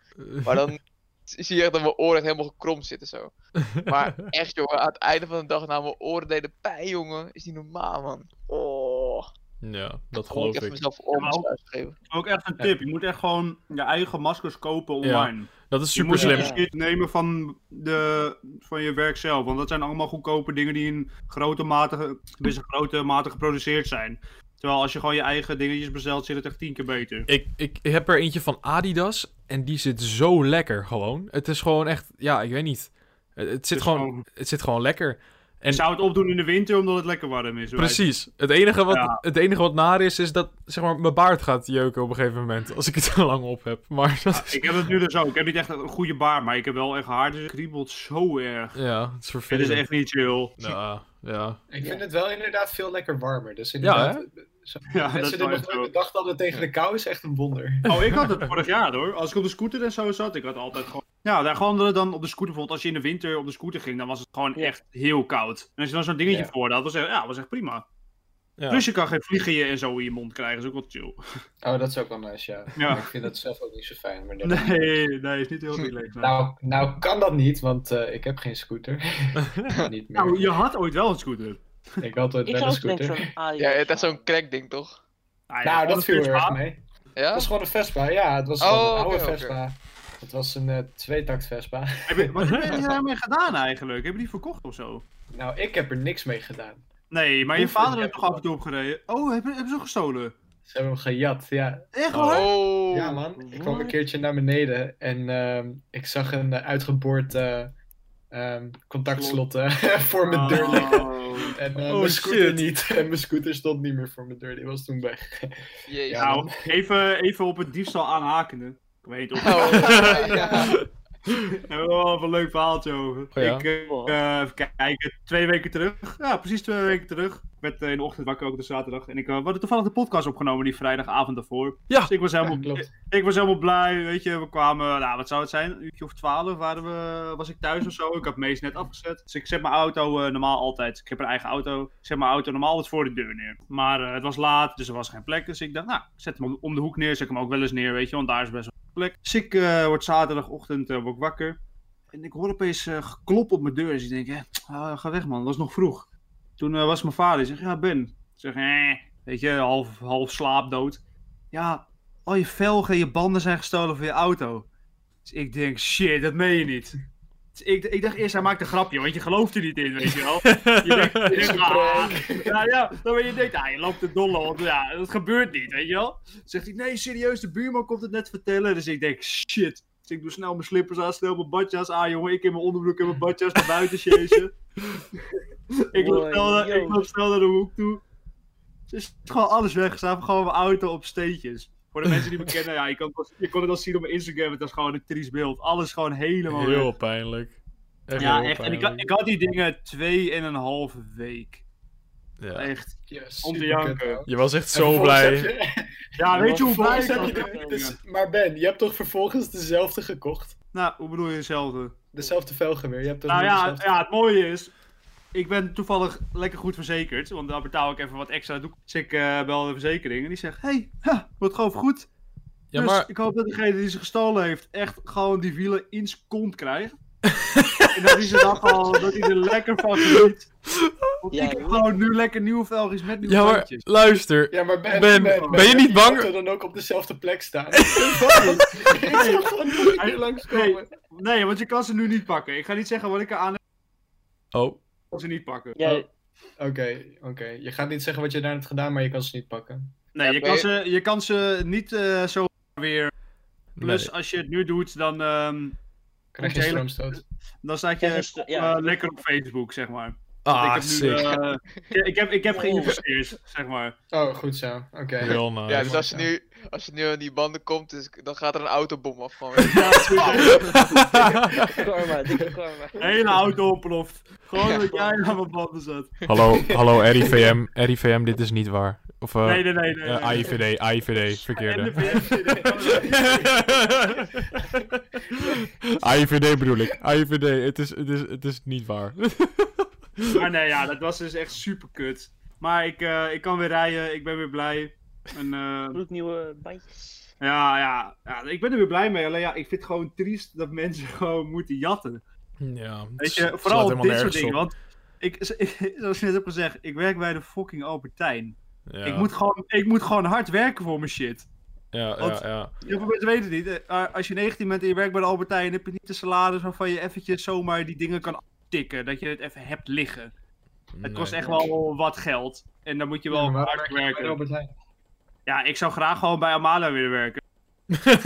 Maar dan zie je echt dat mijn oren echt helemaal gekromd zitten zo. Maar echt jongen, aan het einde van de dag, nou mijn oren deden pijn jongen. Is niet normaal man. Oh,
ja, dat
gewoon
geloof
even
ik.
mezelf om
maar ook- Ook echt een tip. Je moet echt gewoon je eigen maskers kopen online.
Dat is
Je
super
moet
slim.
niet shit nemen van, de, van je werk zelf. Want dat zijn allemaal goedkope dingen die in grote mate, tenminste in grote mate geproduceerd zijn. Terwijl als je gewoon je eigen dingetjes bestelt, zit het echt tien keer beter.
Ik, ik heb er eentje van Adidas en die zit zo lekker gewoon. Het is gewoon echt, ja, ik weet niet. Het, het zit,
is
gewoon,
gewoon-
het zit gewoon lekker. En-
Ik zou het opdoen in de winter omdat het lekker warm is.
Precies. Het enige, wat,
Ja.
het enige wat naar is, is dat zeg maar, mijn baard gaat jeuken op een gegeven moment. Als ik het te lang op heb. Maar dat is...
Ik heb het nu dus ook. Ik heb niet echt een goede baard, maar ik heb wel echt haar. Dus het kriebelt zo erg.
Ja, het is
Het
vervelend.
is echt niet chill.
Ja, ja.
Ik vind het wel inderdaad veel lekker warmer. Dus
Ja,
inderdaad, zo-
Ja, dat
mensen
is
die
wel
nog
echt
nooit
zo.
bedacht hadden tegen de kou is echt een wonder.
Oh, ik had het vorig jaar hoor. Als ik op de scooter en zo zat, ik had altijd gewoon. Ja, daar gewoon dat- dan op de scooter bijvoorbeeld. Als je in de winter op de scooter ging, dan was het gewoon
Ja.
echt heel koud. En als je dan zo'n dingetje
Ja.
voor had, was echt, ja, was echt prima.
Ja.
Plus je kan geen vliegen je en zo in je mond krijgen, is ook wel chill.
Oh, dat is ook wel nice, ja.
Ja.
Maar Ik vind dat zelf ook niet zo fijn. Maar dat-
Nee, nee, is niet heel relaxed. nee.
nou, nou kan dat niet, want eh, ik heb geen scooter. niet meer.
Nou, je had ooit wel een scooter.
Ik had ooit
Ik
wel
zou
een
ook denken
scooter.
van ah, nou, Adidas.
Ja, het is echt zo'n crack ding toch?
Ah, ja,
Nou,
gewoon
dat
een
viel er
Vespa.
erg mee.
Ja?
Het was gewoon een Vespa, ja. Het was
Oh,
gewoon een
oké,
oude
oké.
Vespa. Het was een eh, tweetakt Vespa.
Heb je- Wat heb je daarmee gedaan eigenlijk? Heb je die verkocht of zo?
Nou, ik heb er niks mee gedaan.
Nee, maar je
Hoeveel
vader heeft toch
heb je
af en toe opgereden? Oh, hebben heb ze hem gestolen?
Ze hebben hem gejat, ja.
Echt
Oh.
hoor?
Oh.
Ja, man. Ik kwam een
what?
keertje naar beneden en ehm, ik zag een eh, uitgeboord eh, ehm, contactslot eh, voor mijn deur liggen.
Oh.
En eh,
Oh,
mijn scooter
shit.
niet. En mijn scooter stond niet meer voor mijn deur. Die was toen weg.
Jezus.
Ja.
Nou, even, even op het diefstal aanhakende. Ik weet het ook.
Oh, ja.
Daar hebben we wel even een leuk verhaaltje over.
Oh ja?
Ik, eh, eh, even kijken, twee weken terug. Ja, precies twee weken terug. Ik werd eh, in de ochtend wakker, ook de zaterdag. En ik eh, we hadden toevallig de podcast opgenomen die vrijdagavond daarvoor.
Ja.
Dus ik was helemaal,
Ja, klopt.
ik, ik was helemaal blij, weet je. We kwamen, nou, wat zou het zijn? Een uurtje of twaalf waren we, was ik thuis of zo. Ik had Mees net afgezet. Dus ik zet mijn auto eh, normaal altijd. Ik heb een eigen auto. Ik zet mijn auto normaal altijd voor de deur neer. Maar eh, het was laat, dus er was geen plek. Dus ik dacht, nou, ik zet hem om- om de hoek neer. Zet hem ook wel eens neer, weet je. Want daar is best wel plek. Dus ik eh, word zaterdagochtend eh, word ik wakker. En ik hoor opeens eh geklop op mijn deur. Dus ik denk, hè, ah, ga weg man, dat is nog vroeg. Toen eh, was mijn vader, die zegt, ja Ben. Ik zeg, eh, weet je, half, half slaapdood. Ja, al je velgen en je banden zijn gestolen van je auto. Dus ik denk, shit, dat meen je niet. Dus ik, ik dacht eerst, hij maakt een grapje, want je gelooft er niet in, weet je wel. Je denkt, je denkt, ah, ja, ja, dan ben je denkt, ah, je loopt de dolle, want ja, dat gebeurt niet, weet je wel. Zegt hij, nee, serieus, de buurman komt het net vertellen. Dus ik denk, shit. Dus ik doe snel mijn slippers aan, snel mijn badjas aan, jongen. Ik in mijn onderbroek en mijn badjas naar buiten chasen. ik, loop
Oei,
snel naar, ik
yo.
loop snel naar de hoek toe. Dus is gewoon alles weggestaan, gewoon mijn auto op steentjes. Voor de mensen die me kennen, ja, je, kan, het wel- je kon het al zien op mijn Instagram, het was gewoon een triest beeld. Alles gewoon helemaal weg.
Heel pijnlijk. Echt
Ja,
heel
echt. En ik, had-
pijnlijk.
ik had die dingen twee en een halve week.
Ja.
Echt.
Yes,
Om te
superkut,
janken.
man.
Je was echt
En
zo
vervolgens
blij.
heb je-
Ja, weet je hoe blij
vervolgens
ik
heb je
was?
de- dus- Maar Ben, je hebt toch vervolgens dezelfde gekocht?
Nou, hoe bedoel je hetzelfde?
Dezelfde velgen weer. Je hebt toch
Nou
weer
ja,
dezelfde-
ja, het mooie is. Ik ben toevallig lekker goed verzekerd. Want daar betaal ik even wat extra. toe. Dus ik eh, bel de verzekering. En die zegt: Hey, ha, wordt gewoon goed.
Ja,
dus
maar
ik hoop dat degene die ze gestolen heeft. echt gewoon die wielen in zijn kont krijgt. en dat hij ze dan gewoon. dat hij er lekker van geniet. Want
Ja,
ik heb
joh.
gewoon nu lekker nieuwe velgjes met nieuwe
Ja, maar
bandjes.
luister.
Ja, maar Ben,
Ben, ben je
heb
niet bang?
auto dan ook op dezelfde plek staan? ik zag gewoon nog een keer langskomen.
Nee, want je kan ze nu niet pakken. Ik ga niet zeggen wat ik er aan heb.
Oh,
ik kan ze niet pakken.
Ja,
Oh. Oké, oké. Je gaat niet zeggen wat je daar hebt gedaan, maar je kan ze niet pakken.
Nee,
Ja,
je
ben
kan
je-
ze, je kan ze niet eh, zo weer Plus,
nee.
als je het nu doet, dan, ehm,
Krijg je
Moet je
stroomstoot?
dan staat
Ja,
je
dus, ja.
eh, lekker op Facebook, zeg maar.
Ah,
ik heb nu,
sick.
eh, ik- ik heb, ik heb
Oh.
geïnvesteerd, zeg maar.
Oh, goed zo. Oké.
Heel nice.
Ja, dus als je
Ja.
nu, als je nu aan die banden komt, dus, dan gaat er een autobom af gewoon.
karma, dikke karma.
De hele auto ontploft. Gewoon dat jij aan mijn banden zat.
hallo, hallo RIVM. RIVM, dit is niet waar. Of eh
Nee, nee, nee. nee,
eh,
nee.
AIVD, AIVD, verkeerde. AIVD bedoel ik. AIVD, het is, het is, het is niet waar.
Maar nee, ja, dat was dus echt super kut. Maar ik, eh, ik kan weer rijden, ik ben weer blij. En, eh,
Gloednieuwe bandjes.
ja, ja, ja, ik ben er weer blij mee. Alleen ja, ik vind het gewoon triest dat mensen gewoon moeten jatten.
ja, het
Weet
s-
je,
het slaat
vooral op
helemaal
dit soort
nergens
dingen.
op.
Want ik, zoals je net hebt gezegd, ik werk bij de fucking Albertijn.
Ja,
Ik, moet gewoon, ik moet gewoon hard werken voor mijn shit.
ja, ja,
want-
ja.
Heel veel mensen weten het niet. eh, maar Als je 19 bent en je werkt bij de Albertijn, heb je niet de salaris waarvan je eventjes zomaar die dingen kan tikken. Dat je het even hebt liggen. Het kost
Nee.
echt wel wat geld. En dan moet je wel hard werken.
Heijn.
Ja, ik zou graag gewoon bij Amala willen werken.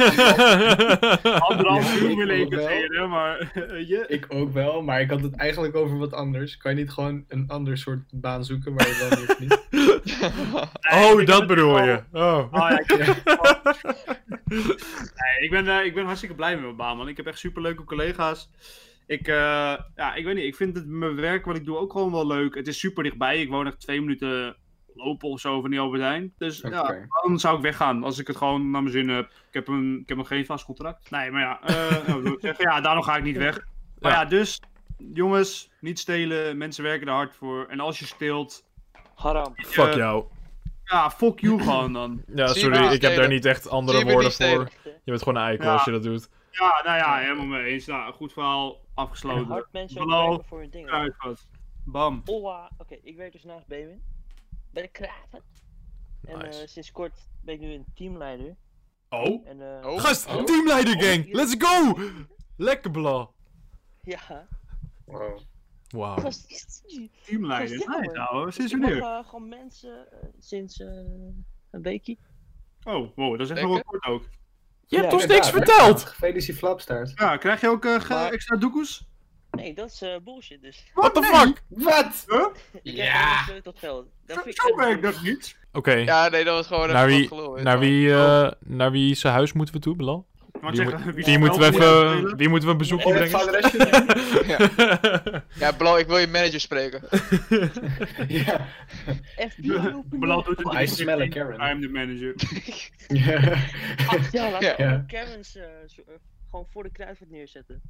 Anderhalf
Ja,
uur
ik
wil
ook
ik het
wel.
leren, maar... weet je?
Ik ook wel, maar ik had het eigenlijk over wat anders. Kan je niet gewoon een ander soort baan zoeken waar je dan hoeft niet?
Nee,
Oh,
ik
dat
ben-
bedoel je. Oh.
Oh, ja, ik, nee, ik, ben, eh, ik ben hartstikke blij met mijn baan, man. Ik heb echt superleuke collega's. Ik, eh, ja, ik weet niet, ik vind het, mijn werk wat ik doe ook gewoon wel leuk. Het is super dichtbij. Ik woon echt twee minuten lopen of zo van die Albertijn. Dus
Oké.
ja, dan zou ik weggaan als ik het gewoon naar mijn zin heb. Ik heb, een, ik heb nog geen vast contract. Nee, maar ja, eh, nou, wil ik zeggen, ja daarom ga ik niet weg. Maar
Ja.
ja, dus, jongens, niet stelen. Mensen werken er hard voor. En als je steelt,
Haram.
Fuck
eh,
jou.
ja, fuck you gewoon dan.
Ja,
Zie je
sorry,
maar
ik heb daar
stelen.
niet echt andere
Zie je maar
woorden
niet stelen.
voor. Je bent gewoon een eikel
Ja.
als je dat doet.
Ja, nou ja, helemaal mee eens. Nou, goed verhaal, afgesloten.
Hard mensen ook
Hallo.
werken voor hun dingen.
Eruit, wat. Bam.
Ola, oké, ik werk dus naast Bewin. Bij de Kraven. En eh,
Nice.
sinds kort ben ik nu een teamleider.
Oh.
En, eh,
Oh.
Gast,
Oh.
teamleider gang. Let's go. Lekker bla.
Ja,
Wow. Oh.
Wauw.
gast.
Teamleider.
Gast, ja,
Nice,
man.
ouwe. Sinds
ik mag
wanneer?
eh, gewoon mensen eh, sinds eh, een weekje.
Oh, wow, dat is echt
Lekker.
nog wel kort ook.
Je hebt
Ja,
ons niks
Inderdaad,
verteld.
Gefeliciteerd, Flapstaart.
Ja, krijg je ook eh, ge-
Maar-
extra doekoes?
Nee, dat is eh, bullshit dus.
What the fuck?
Wat?
Je krijgt
Ja.
gewoon een sleutel tot geld. Dat
Zo,
vind
zo
echt
werkt
bullshit.
dat niet.
Oké.
Ja, nee, dat was gewoon
Naar
een
wie,
groot gelul, weet
naar,
je wel.
wie, eh, naar wie zijn huis moeten we toe, Bilal?
Want
Die,
zeggen,
moet-
wie
die moeten we
speelt, wie gaat
even,
spelen?
die moeten we een bezoekje
Oh, het
brengen.
vaderesje?
Ja, Blau, ik wil je manager spreken.
Ja.
FBI open.
Belal doet het
I
niet.
smell a Karen.
I'm the manager.
Ja.
Ach, ja, laat
Ja.
gewoon Karens eh, zo- eh, gewoon voor de kruidvat neerzetten.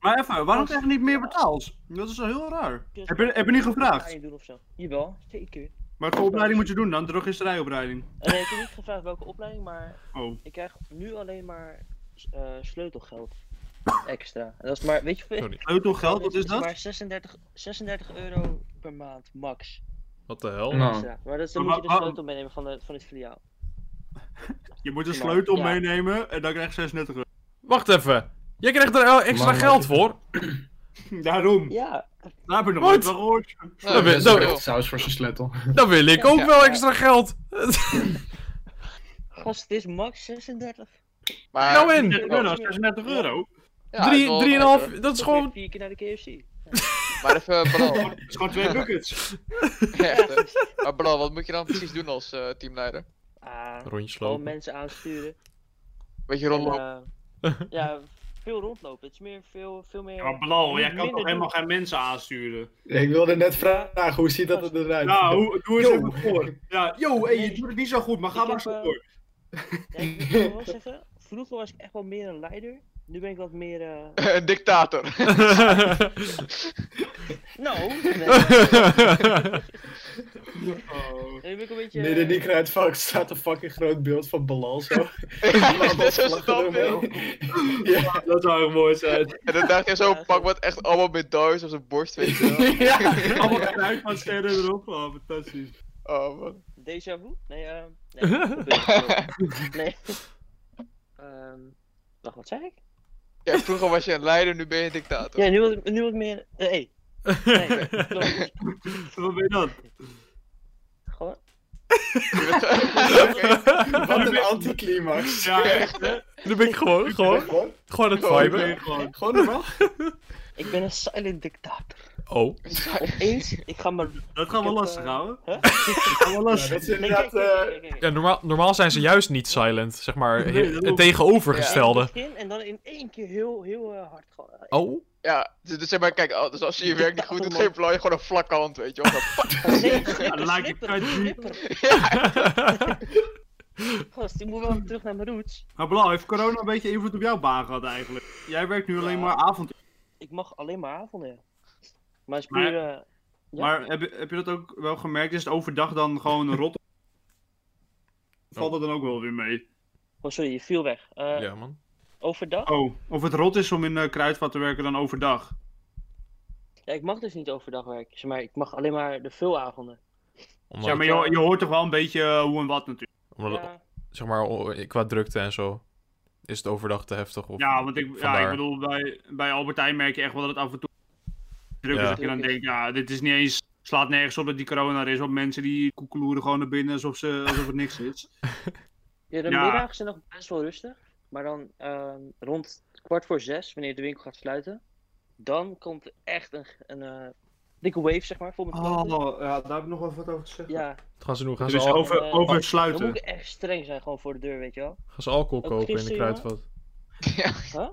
Maar even, waarom krijg je niet meer betaald? Dat is wel heel raar.
Dus-
Heb je, heb je niet gevraagd?
Ga je doen of zo? Jawel, zeker.
Maar voor opleiding moet je doen dan, drogisterijopleiding.
Eh, nee, ik heb niet gevraagd welke opleiding, maar
Oh.
ik krijg nu alleen maar eh, sleutelgeld extra. En dat is maar, weet je hoeveel?
Sorry.
Sleutelgeld, wat is dat?
Maar 36, 36 euro per maand max.
Wat de hel?
Nou.
extra. Maar dat, dan
Maar
moet je de
wa-
sleutel meenemen van, de, van het filiaal.
Je moet een
Ja.
sleutel
Ja.
meenemen en dan krijg je 36 euro.
Wacht even. Jij krijgt er eh, extra
Man,
geld
wat-
voor?
Daarom.
Ja,
Daar heb ik nog
Wat?
nooit van gehoord.
Nou,
Dat
Dat
we-
is
best wel
dat we-
een
veel.
saus voor zijn sleutel.
Dan wil ik ook
Ja.
wel extra geld.
gast, het is max 36.
Maar,
Nou in.
Ja,
36 euro, 36 euro.
ja, het is wel leuk, hoor.
3,5, dat is
Dat weer
gewoon...
vier keer naar de KFC.
Maar even, Blau.
Dat is gewoon twee buckets.
Echt, hè. maar Blau, wat moet je dan precies doen als eh, teamleider?
Ah,
Rondjes
gewoon
lopen.
mensen aansturen.
Beetje
En,
rondlopen.
eh, ja, veel rondlopen. Het is meer, veel, veel meer...
Maar blauw, jij kan
Minder
toch helemaal
doen.
geen mensen aansturen?
Ik wilde net vragen, hoe ziet dat eruit?
Nou, hoe- doe eens
Yo.
even voor. Ja, yo, hey, je
Nee.
doet het niet zo goed, maar ga
Ik
maar
heb,
zo
eh,
door.
Ja, ik moet wel wel zeggen, vroeger was ik echt wel meer een leider. Nu ben ik wat meer... eh,
Een dictator.
Nou, nee,
Oh.
nu ben ik een beetje...
Nee, de Nick uit Fox staat een fucking groot beeld van Balal zo.
ja, dat is een standbeeld.
Ja.
Dat zou echt mooi zijn.
En dan dacht je zo'n pak wat echt allemaal medailles op zijn borst, weet je wel.
Allemaal geluid van sterren erop. Oh, fantastisch.
Oh man.
Deja vu? Nee, eh... Nee. dat ben ik niet. nee. Ehm, wacht, wat zei ik?
Ja, vroeger was je een leider, nu ben je een dictator.
Ja, nu wat, nu wat meer... eh, hey. Nee, klopt.
Wat ben je dan?
Gewoon...
Je bent ge- Oké.
Wat een anticlimax.
Ja, echt, hè?
Nu ben ik gewoon, gewoon,
Gewoon,
gewoon aan het
Ik
viben.
ben gewoon.
gewoon normaal.
Ik ben een silent dictator.
Oh.
Opeens, ik ga maar...
Dat gaan we
Ik heb,
lastig
eh,
houden.
Huh?
Dat gaan we
Ja,
lastig.
dat is
Nee,
inderdaad...
kijk, kijk,
eh
kijk, kijk,
Ja,
kijk.
normaal, normaal zijn ze juist niet silent, zeg maar.
Nee,
he-
dat
het
ook.
tegenovergestelde.
Begin en dan in één keer heel, heel eh, hard gewoon...
Oh.
Ja, dus, dus zeg maar, kijk, al- dus als je je werk niet goed doet, geef je gewoon een vlakke hand, weet je wel. Gewoon, pak.
Nee, slipper,
lijkt een
slipper,
cut-die.
slipper. Gast, ik moet wel terug naar mijn roots.
Maar Bla, heeft corona een beetje invloed op jouw baan gehad eigenlijk? Jij werkt nu alleen maar avond.
Ik mag alleen maar avonden. Maar is
Maar-
puur... eh, ja.
Maar heb je, heb je dat ook wel gemerkt? Is het overdag dan gewoon rot? Valt dat dan ook wel weer mee?
Oh, sorry, je viel weg. Eh,
Ja, man.
Overdag?
Oh, of het rot is om in eh, Kruidvat te werken dan
Oh,
overdag?
Ja, ik mag dus niet overdag werken. Zeg maar ik mag alleen maar de vulavonden.
Omdat,
Ja, maar je, je hoort toch wel een beetje eh, hoe en wat natuurlijk.
omdat het-
Ja,
zeg maar, o- qua drukte en zo, is het overdag te heftig. Of
Ja, want ik, ja,
vandaar.
ik bedoel, bij, bij Albertijn merk je echt wel dat het af en toe druk is.
Ja.
Dat je dan denkt, ja, dit is niet eens... Slaat nergens op dat die corona er is op mensen die koekeloeren gewoon naar binnen alsof, ze, alsof het niks is.
ja, de
Ja.
middagen zijn nog best wel rustig. Maar dan ehm, rond kwart voor zes, wanneer de winkel gaat sluiten, dan komt echt een, een eh, dikke wave, zeg maar, vol
Oh.
met klanten.
ja, daar heb ik nog wel wat over te zeggen.
Ja,
Wat gaan ze doen? Gaan,
Dus
ze, al-
over,
eh,
over
dan moet
sluiten.
ik echt streng zijn gewoon voor de deur, weet je wel.
gaan ze alcohol
Ook
kopen in de
gisteren, jongen.
kruidvat?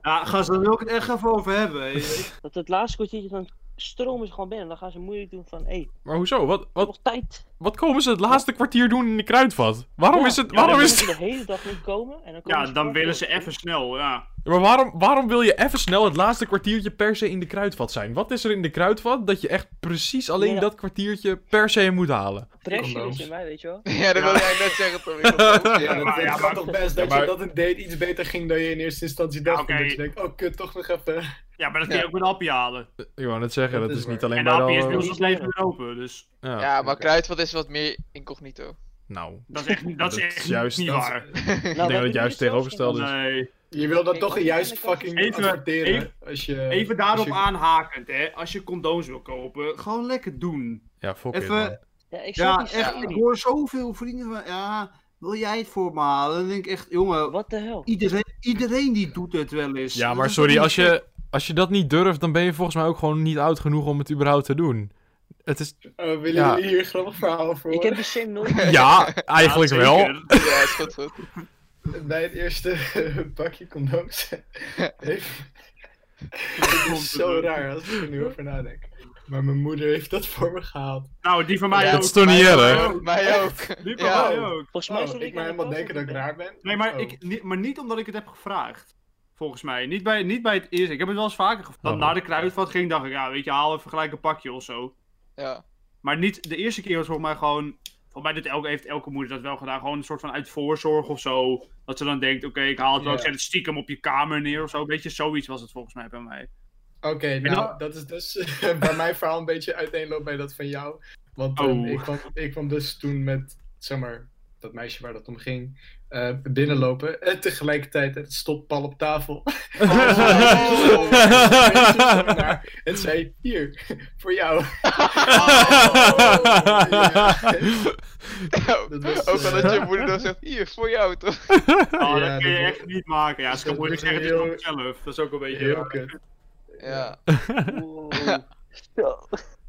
Ja, gast, daar wil ik het echt even over hebben.
Dat het laatste kwartiertje, dan stromen ze gewoon binnen. Dan gaan ze moeilijk doen van, hé, hey,
Maar hoezo? Wat, wat,
nog tijd.
wat komen ze het laatste kwartier doen in de kruidvat? Waarom
Ja,
is het...
dan
Waarom
Dan
is
moeten
het-
ze de hele dag niet komen. En dan komen
Ja,
ze
dan
kwart
willen
voor
ze
tien.
even snel, ja.
Maar waarom, waarom wil je even snel het laatste kwartiertje per se in de kruidvat zijn? Wat is er in de kruidvat dat je echt precies alleen
Ja.
dat kwartiertje per se moet halen?
Pressure
Condooms.
is in mij, weet je wel.
Ja, dat wilde jij net zeggen, Tom. Ik was boos.
Ja, dat
maar-
het
ja,
kan
maar-
toch best
Ja,
dat
maar-
je dat een date iets beter ging dan je in eerste instantie dacht.
oké.
En dat je denkt, oh kut, toch nog even.
Ja, maar dat kun je
Ja.
ook met appie halen.
Ik wou net zeggen,
Dat
dat,
is
is niet
waar.
alleen
En
bij de...
appie is bij
wel- eh,
ons nog steeds weer open, dus
Ja,
Ja, maar
oké.
Kruidvat is wat meer incognito.
nou...
dat is echt, dat is echt
juist-
niet
dat is-
waar.
Nou,
dat het
hebben
juist
jullie zelfs
tegenovergestelde
geen-
is.
Nee.
Je wil dat
Ik-
toch
ik-
juist
ik-
fucking
Even-
adverteren.
even-
als je, Oh,
Even
als
daarop
je-
aanhakend, hè. Als je condooms wil kopen, gewoon lekker doen.
Ja, fuck it,
Even-
man.
Ja, ik snap
Ja,
die
echt,
shit
ik
niet.
hoor zoveel vrienden van, ja, wil jij het voor me halen? Dan denk ik echt, jongen,
Wat de hel?
iedereen, iedereen die doet het wel eens.
Ja,
dus Dat
maar
is toch
sorry,
niet
als je, als je dat niet durft, dan ben je volgens mij ook gewoon niet oud genoeg om het überhaupt te doen. Het is...
Oh, willen
Ja.
jullie hier een grappig verhaal voor?
Ik heb die sim nooit.
Ja, eigenlijk
zeker.
wel.
Ja, is goed, goed.
Bij het eerste pakje condooms. heeft... Het is zo raar als ik er nu over nadenk. Maar mijn moeder heeft dat voor me gehaald.
Nou, die van mij
Ja,
ook.
Dat is toch niet
Mij
erg?
ook, Mij ook.
Die van
Ja.
mij ook.
Volgens mij
Oh,
stond
ik maar
aan de
helemaal
kant van
denken dat ik
de-
raar ben.
Nee, maar,
Oh.
ik, niet, maar niet omdat ik het heb gevraagd. Volgens mij. Niet bij, niet bij het eerste. Ik heb het wel eens vaker gevraagd. Dat
Oh.
naar de kruidvat ging, dacht ik, ja, weet je, haal even gelijk een pakje of zo.
Ja.
Maar niet de eerste keer was volgens mij gewoon. Volgens mij doet elke, heeft elke moeder dat wel gedaan. Gewoon een soort van uit voorzorg of zo. Dat ze dan denkt, oké, ik haal het wel. Ik
Ja.
zet het stiekem op je kamer neer of zo. Weet je, zoiets was het volgens mij bij mij.
Oké, nou, dat is dus bij mijn verhaal een beetje uiteenloopt bij dat van jou. Want ehm,
Oh.
ik, kwam, ik kwam dus toen met, zeg maar, dat meisje waar dat om ging, eh, binnenlopen. En tegelijkertijd het stoppal op tafel. en zei, hier, voor jou. Dat was,
ook al dat je
eh,
moeder dan zegt, hier, voor jou toch?
Oh,
Ja,
dat kun je
dat-
echt niet maken. Ja, ze kan
dat
moeilijk
is
zeggen, het is
heel-
van zelf. Dat is ook een beetje.
Heel kut.
Ja.
Wow. Zo.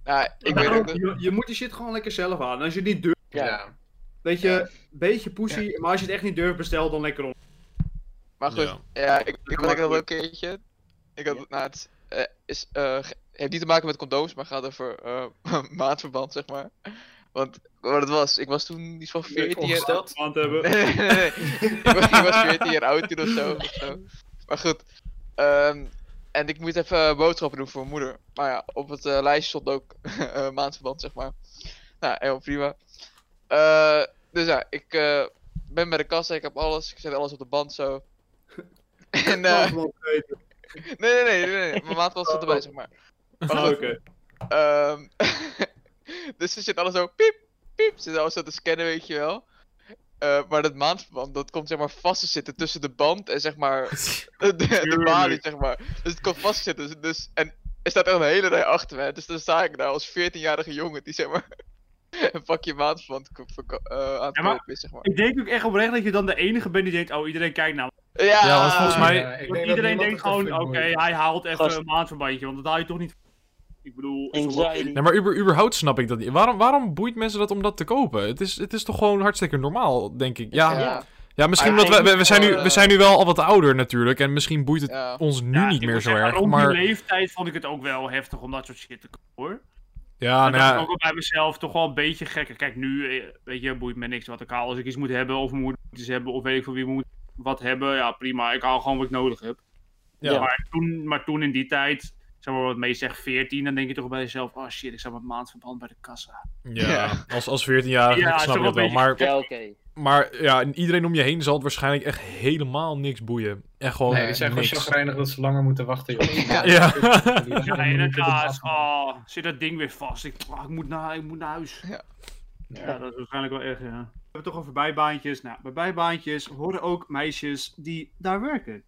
Nou, ik weet
Daarom,
ook dat...
je, je moet die shit gewoon lekker zelf aan. Als je het niet durft,
Ja.
weet je, beetje poesie. Maar als je het echt niet durft, bestel dan lekker om.
Maar goed, ja, ik, ik had dat ook een keertje. Ik had, nou, het eh, is, eh, ge- heeft niet te maken met condooms, maar gaat over eh, maatverband, zeg maar. Want wat het was, ik was toen iets van 14 jaar oud.
ongesteld?
Want hebben.
Nee, nee, nee. ik, was, ik was 14 jaar oud toen of zo. Of zo. Maar goed. ehm, en ik moet even eh, boodschappen doen voor mijn moeder. Maar ja, op het eh, lijstje stond ook eh, maandverband, zeg maar. Nou, heel prima. Eh, dus ja, ik eh, ben bij de kassa, ik heb alles. Ik zet alles op de band zo. En, eh,
Oh.
nee, nee, nee, nee, nee, Mijn maandverband staat erbij, zeg maar. Maar
Oh,
goed,
oké.
Ehm, dus ze zit alles zo piep, piep. Ze zit alles zo te scannen, weet je wel. Eh, maar dat maandverband, dat komt zeg maar vast te zitten tussen de band en zeg maar de, de
Tuurlijk.
balie, zeg maar. Dus het komt vast te zitten. Dus, en er staat echt een hele rij achter me. Dus dan sta ik daar als 14-jarige jongen die zeg maar een pakje maandverband ko- verko- eh, aan het
Ja, maar-
kopen is, zeg maar.
Ik denk ook echt oprecht dat je dan de enige bent die denkt, oh, iedereen kijkt naar
Ja,
Ja, want volgens mij-
Ah,
Want
ik denk dat
iedereen
niemand
denkt
het
gewoon,
ervoor
oké,
doet.
hij haalt even
Gast.
een maandverbandje, want dat haal je toch niet. Ik bedoel, is toch wel-
Anxiety.
Nee, maar uber, überhaupt snap ik dat niet. Waarom, waarom boeit mensen dat om dat te kopen? Het is, het is toch gewoon hartstikke normaal, denk ik. Ja,
ja.
Ja, misschien omdat we, we, we zijn nu, we zijn nu wel al wat ouder natuurlijk. En misschien boeit het
Ja.
ons nu
Ja,
niet
ik
meer
moet
zo
zeggen,
erg.
Rond die
Maar
leeftijd vond ik het ook wel heftig om dat soort shit te kopen, hoor.
ja, nou
En dat
ja,
is ook wel bij mezelf toch wel een beetje gek. Kijk, nu, eh, weet je, boeit me niks wat ik haal. Als ik iets moet hebben, of moet iets hebben, of weet ik van wie moet wat hebben, ja prima. Ik haal gewoon wat ik nodig heb.
Ja.
Maar, toen, maar toen in die tijd, zeg maar wat mee zegt, 14, dan denk je toch bij jezelf, oh shit, ik sta met maandverband bij de kassa.
Ja, als, als 14-jarige
Ja,
ik
is
snap
toch
ik dat
wel
wel.
een
Maar,
Ja, oké.
maar ja, iedereen om je heen zal het waarschijnlijk echt helemaal niks boeien. Echt gewoon
nee, die zijn gewoon
Oh, niks.
chagrijnig dat ze langer moeten wachten, joh.
Ja.
Ja.
Ja, inderdaad. Oh, zit dat ding weer vast. Ik, ah, ik, moet, naar, ik moet naar huis. Ja, dat is waarschijnlijk wel erg, ja.
We hebben het toch over bijbaantjes. Nou, bij bijbaantjes horen ook meisjes die daar werken.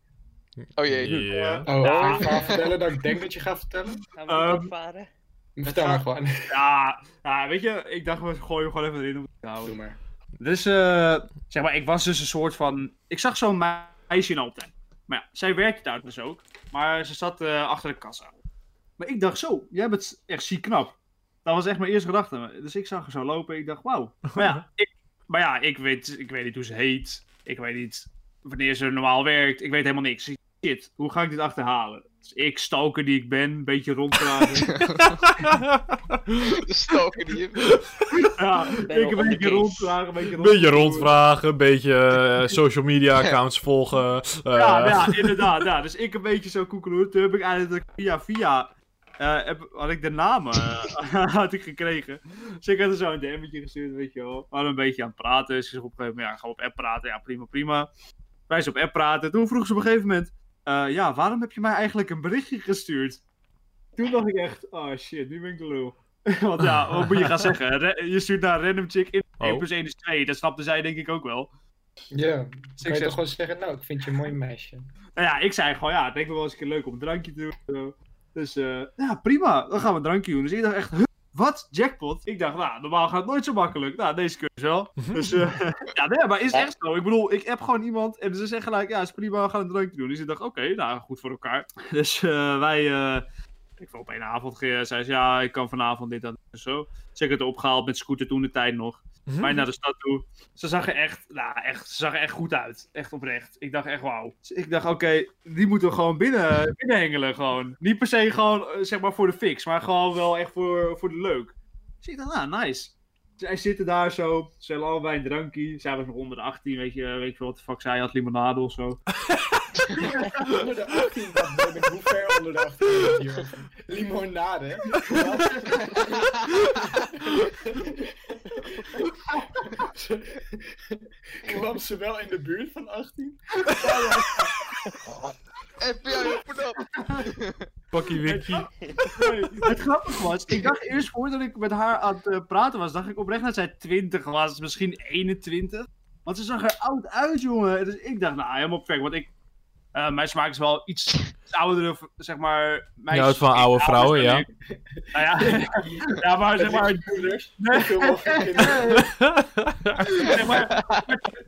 Oh jee.
Ja.
Oh, ga je
Ja.
verhaal vertellen dat ik denk dat je gaat vertellen?
Gaan we dit
Ehm,
opvaren?
Vertel maar gewoon.
Ja, ja, weet je, ik dacht, we gooien hem gewoon even erin. om het te houden.
Doe maar.
Dus, eh, zeg maar, ik was dus een soort van... Ik zag zo'n me- meisje in Alphen. Maar ja, zij werkte daar dus ook. Maar ze zat eh, achter de kassa. Maar ik dacht, zo, jij bent echt ziek knap. Dat was echt mijn eerste gedachte. Dus ik zag haar zo lopen ik dacht, wauw. Maar ja, ik, maar ja ik, weet, ik weet niet hoe ze heet. Ik weet niet wanneer ze normaal werkt. Ik weet helemaal niks. Ik dacht, Shit, hoe ga ik dit achterhalen? Dus ik, stalker die ik ben, een beetje rondvragen.
De stalker die je...
ja,
Ben je
ik een
on
beetje
the case?
rondvragen, een beetje
Beetje rondvragen, een beetje eh, social media accounts volgen. eh,
Ja, nou ja, inderdaad. Ja. Dus ik een beetje zo koekeloer. Toen heb ik eigenlijk via via... eh, heb, had ik de namen eh, had ik gekregen. Dus ik had er zo een DM'tje gestuurd, weet je wel. We hadden een beetje aan het praten. Dus ze zei op een gegeven moment, ja, gaan we op app praten. Ja, prima, prima. Wij zijn op app praten. Toen vroeg ze op een gegeven moment... eh, ja, waarom heb je mij eigenlijk een berichtje gestuurd? Toen dacht ik echt, oh shit, nu ben ik de lul. Want ja, wat moet je gaan zeggen? Re- je stuurt naar een random chick in
Oh.
1 plus 1 is 2. Dat snapte zij denk ik ook wel.
Ja, kan je
zeg-
toch gewoon zeggen, nou, ik vind je een mooi meisje.
Nou ja, ik zei gewoon, ja, het lijkt me wel eens een keer leuk om een drankje te doen. zo. Dus eh, ja, prima, dan gaan we een drankje doen. Dus ik dacht echt, huh, wat? Jackpot? Ik dacht, nou, normaal gaat het nooit zo makkelijk. Nou, deze keer wel. Dus eh, ja, nee, maar is echt zo. Ik bedoel, ik heb gewoon iemand en ze zeggen gelijk, ja, is prima, we gaan een drankje doen. Dus ik dacht, oké, nou, goed voor elkaar. Dus eh, wij, eh, ik wil op één avond, eh, zei ze, ja, ik kan vanavond dit en zo. Dus ik heb het opgehaald met scooter toen de tijd nog
Hm?
mij naar de stad toe. Ze zag er echt, nou, echt, ze zag er echt goed uit. Echt oprecht. Ik dacht echt, wauw. Dus ik dacht, oké, die moeten we gewoon binnen, binnenhengelen. Gewoon. Niet per se gewoon, eh, zeg maar, voor de fix. Maar gewoon wel echt voor, voor de leuk. Dus ik dacht, nou, nice. Zij zitten daar zo. Ze hebben allebei een drankje. Zij was nog onder de 18, weet je, weet je wat de fuck zij had, limonade of zo.
Onder de 18, dat ben ik hoe ver onder de 18 ben ik hier? Limonade? Kwam ze wel in de buurt van 18?
FBI, open up!
Pakkie wikkie.
Nee, het grappige was, ik dacht eerst voordat ik met haar aan het eh, praten was, dacht ik oprecht dat zij 20 was, misschien 21. Want ze zag er oud uit, jongen. Dus ik dacht, nou, helemaal perfect. Want ik, eh, mijn smaak is wel iets oudere, v- zeg maar.
Je
meisjes-
houdt van oude vrouwen,
ouders dan
ja.
ik. Nou ja, ja, maar zeg maar,
Moeders, zoveel mogelijk kinderen.
zeg maar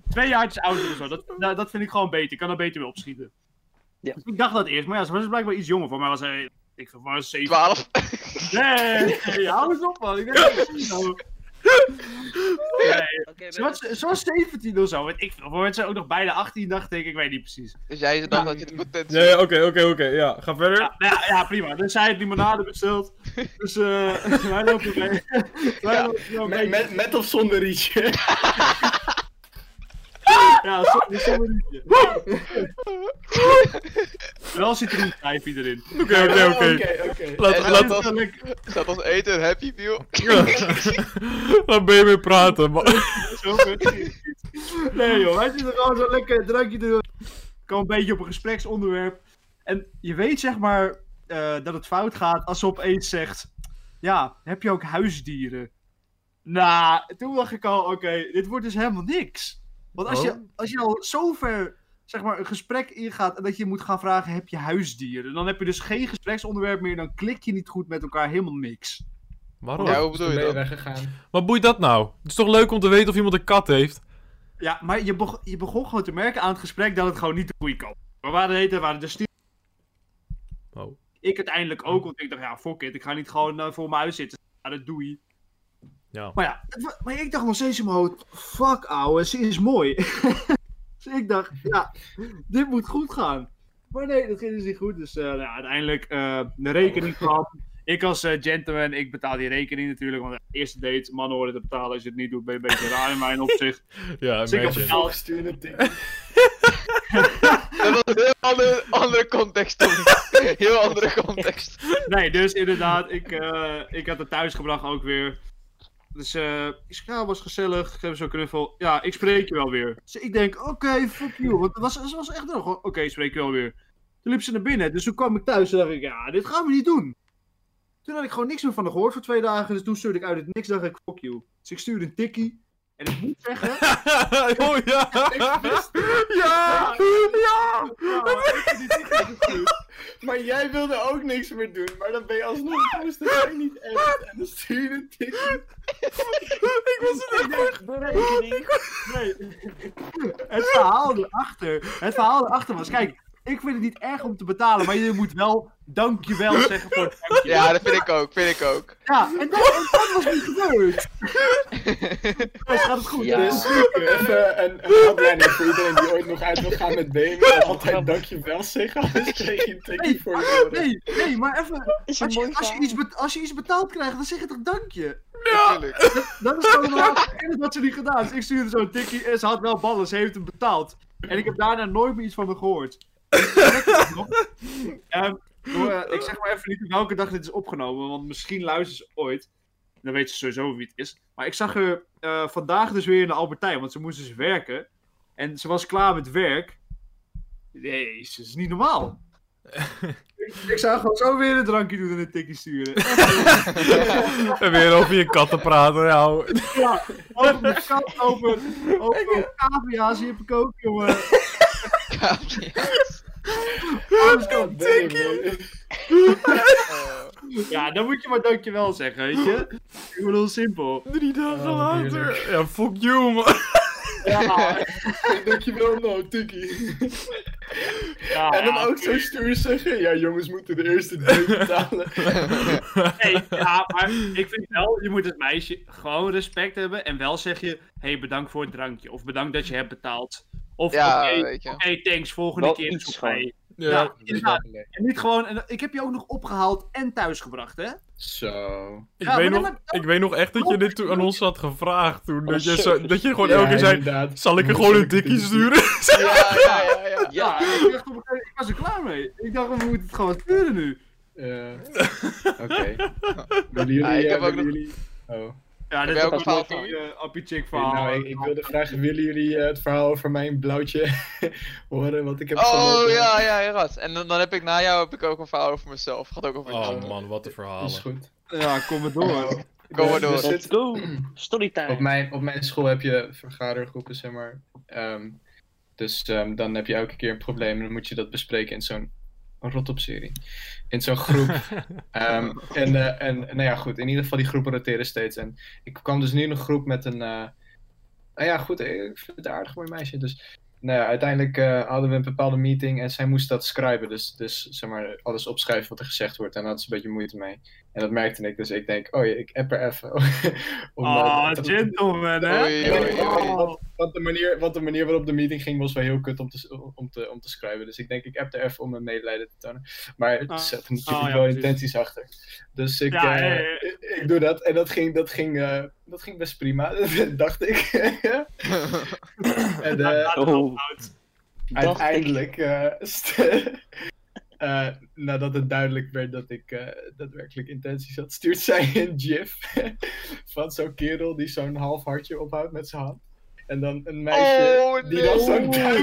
twee jaartjes ouder of zo. Dat, dat, dat vind ik gewoon beter. Ik kan dat beter weer opschieten.
Ja.
Dus ik dacht dat eerst, maar ja, ze was blijkbaar iets jonger. Voor mij was hij, ik vond maar 7.
12.
Nee, nee, hou eens op, man. Ik denk dat ik het zie, man.
Oké, ben
Ze was, ze was 17 of zo, weet ik veel. Maar werd ze ook nog bijna 18, dacht ik. Ik weet niet precies.
Dus jij dacht dat je de potentie...
Ja, ja, oké, oké, oké. Ja, ga verder.
Ja, nou ja, ja, prima. Dus zij heeft limonade besteld. Dus eh wij lopen mee. Wij
Ja,
lopen zo mee.
Met, met, met of zonder rietje?
Ja, sorry, sorry. Wel citroenpijpje erin.
Oké, oké, oké.
Oh, oké.
Laat,
En
laat,
dat-
Letterlijk.
Zat als eten, happy meal.
laat ben je mee praten. man.
Zo goed. Nee joh, wij zitten gewoon zo lekker een drankje te doen. Kom een beetje op een gespreksonderwerp. En je weet zeg maar eh, dat het fout gaat als ze opeens zegt... Ja, heb je ook huisdieren? Nou, toen dacht ik al, oké, dit wordt dus helemaal niks. Want als,
Oh.
je, als je al zo ver zeg maar, een gesprek ingaat en dat je moet gaan vragen... Heb je huisdieren? Dan heb je dus geen gespreksonderwerp meer. Dan klik je niet goed met elkaar, helemaal niks.
Waarom?
Ja, hoe bedoel
Toen
je
ben je
dat?
weggegaan.
Wat boeit dat nou? Het is toch leuk om te weten of iemand een kat heeft?
Ja, maar je, beg- je begon gewoon te merken aan het gesprek dat het gewoon niet de goede kant op. We waren de hele tijd- waren de stil-
Oh.
Ik uiteindelijk ook, want ik dacht, ja, fuck it, ik ga niet gewoon eh, voor mijn huis zitten. Ja, dat doe je.
Ja.
Maar ja, het wa- maar ik dacht nog steeds in mijn hoofd, fuck ouwe, ze is mooi. Dus ik dacht, ja, dit moet goed gaan. Maar nee, dat ging dus niet goed. Dus eh, nou, ja, uiteindelijk eh, de rekening kwam. Ik als eh, gentleman, ik betaal die rekening natuurlijk. Want de eerste date, mannen horen te betalen. Als je het niet doet, ben je een beetje raar in mijn opzicht.
Ja,
Dus ik heb
imagine.
betaald.
Gestuurde tik.
Dat was een heel andere, andere context toen. Heel andere context.
Nee, dus inderdaad, ik, eh, ik had het thuis gebracht ook weer. Dus eh, ik zei, ja, was gezellig. Ik heb zo'n knuffel. Ja, ik spreek je wel weer. Dus ik denk, oké, fuck you. Want het was, ze was echt nog gewoon, oké, ik spreek je wel weer. Toen liep ze naar binnen. Dus toen kwam ik thuis en dacht ik, ja, dit gaan we niet doen. Toen had ik gewoon niks meer van haar gehoord voor twee dagen. Dus toen stuurde ik uit het niks, dacht ik, fuck you. Dus ik stuurde een tikkie. En ik moet zeggen,
oh ja! Ja! Ja!
ja, ik heb die tikkie gestuurd.
Maar jij wilde ook niks meer doen, maar dan ben je alsnog thuis, dat ben je niet echt. En dan stuur je een tikkie.
Ik was het echt voor-
De rekening.
Nee. Het verhaal erachter. Het verhaal erachter was, kijk, ik vind het niet erg om te betalen, maar je moet wel dankjewel zeggen voor het dankje.
Ja, dat vind ik ook, vind ik ook.
Ja, en dat, en dat was niet gebeurd. Dus gaat het goed.
Ja.
Dus even een, een hotline voor iedereen die ooit nog uit wil gaan met Damien. Altijd dankjewel zeggen, anders krijg je een tikkie voor je oren.
Nee, nee, maar even.
Is een
Als
mooi
je, als, je
verhaal.
iets be- als je iets betaald krijgt, dan zeg je toch dankje?
Natuurlijk.
Dat is gewoon het enige wat ze niet gedaan. Dus ik stuurde zo'n tikkie en ze had wel ballen, ze heeft hem betaald. En ik heb daarna nooit meer iets van me gehoord. Ehm, door, eh, ik zeg maar even niet op welke dag dit is opgenomen, want misschien luistert ze ooit. Dan weet ze sowieso wie het is. Maar ik zag haar eh, vandaag dus weer in de Albertijn, want ze moest dus werken. En ze was klaar met werk. Jezus, dat is niet normaal. ik, ik zou gewoon zo weer een drankje doen en een tikkie sturen.
En weer over je katten praten,
Oh,
nou.
Ja, over Oh, de kat, over, over cavia's hier heb ik ook, jongen. Alles kan.
Tikkie!
Eh,
Ja, dan moet je maar dankjewel zeggen, weet je. Ik bedoel, simpel.
Drie dagen
Oh,
later.
heerlijk.
Ja, fuck you, man.
Ja,
Dankjewel nou, tikkie.
ja,
En dan
ja.
ook zo stuur zeggen, ja jongens moeten de eerste date betalen.
Nee, ja, maar ik vind wel, je moet als meisje gewoon respect hebben en wel zeg je, hey, bedankt voor het drankje. Of bedankt dat je hebt betaald. Of,
Ja,
oké,
weet je.
oké, thanks, volgende
Wel
keer
iets
is het oké.
gewoon.
Ja, inderdaad. En niet gewoon, en ik heb je ook nog opgehaald en thuisgebracht, hè?
Zo.
Ik,
Ja,
weet
maar
nog,
dat-
ik weet nog echt dat je dit toen aan ons had gevraagd toen. Dat je, zo- dat je gewoon
Oh, Ja,
elke keer zei,
inderdaad.
zal ik er gewoon een tikkie sturen?
Ja, ja, ja, ja.
Ja, ik, dacht op een gegeven moment, ik was er klaar mee. Ik dacht, we moeten het gewoon sturen nu.
Eh, Oké.
Ja,
Willen jullie...
ik
eh,
heb ook
willen
nog-
jullie... Oh.
Ja, dit
jij
is
ook
ook
een
wel
verhaal,
die eh, appie chick
Hey,
verhaal.
nou, ik, ik wilde vragen, willen jullie eh, het verhaal over mijn blauwtje horen? Want ik heb
Oh
gelopen.
ja, ja, inderdaad. En dan, dan heb ik na jou heb ik ook een verhaal over mezelf. Gaat ook over
Oh
mezelf.
man, wat een
Is
verhalen.
goed.
Ja, kom maar door.
Kom maar
Er- er
door.
zit-
Let's go. Storytime.
op, mijn, op mijn school heb je vergadergroepen, zeg maar. Ehm, dus ehm, dan heb je elke keer een probleem en dan moet je dat bespreken in zo'n rotopserie. In zo'n groep. Ehm, en, eh, en nou ja, goed. In ieder geval, die groepen roteren steeds. En ik kwam dus nu in een groep met een. eh, nou ja, goed. eh, Ik vind het een aardig mooi meisje. Dus nou ja, uiteindelijk eh, hadden we een bepaalde meeting en zij moest dat scriben. Dus, dus zeg maar, alles opschrijven wat er gezegd wordt. En daar had ze een beetje moeite mee. En dat merkte ik. Dus ik denk, oh ja, ik app er even. om, eh,
Oh,
te-
gentleman, hè?
Oei, oei, oei.
Oh.
want de, manier, want de manier waarop de meeting ging was wel heel kut om te, om te, om te schrijven. Dus ik denk, ik heb er even om mijn medelijden te tonen. Maar het
Ah.
zet natuurlijk
Ah, ja,
wel
precies.
intenties achter. Dus ik,
Ja,
eh,
ja, ja.
ik, ik doe dat. En dat ging, dat ging, eh, dat ging best prima, dacht ik. en, eh,
Oh, dacht ik.
uiteindelijk, eh, st- eh, nadat het duidelijk werd dat ik eh, daadwerkelijk intenties had, stuurt zij een gif van zo'n kerel die zo'n half hartje ophoudt met zijn hand. En dan een meisje
Oh
die
nee.
dan zo'n duim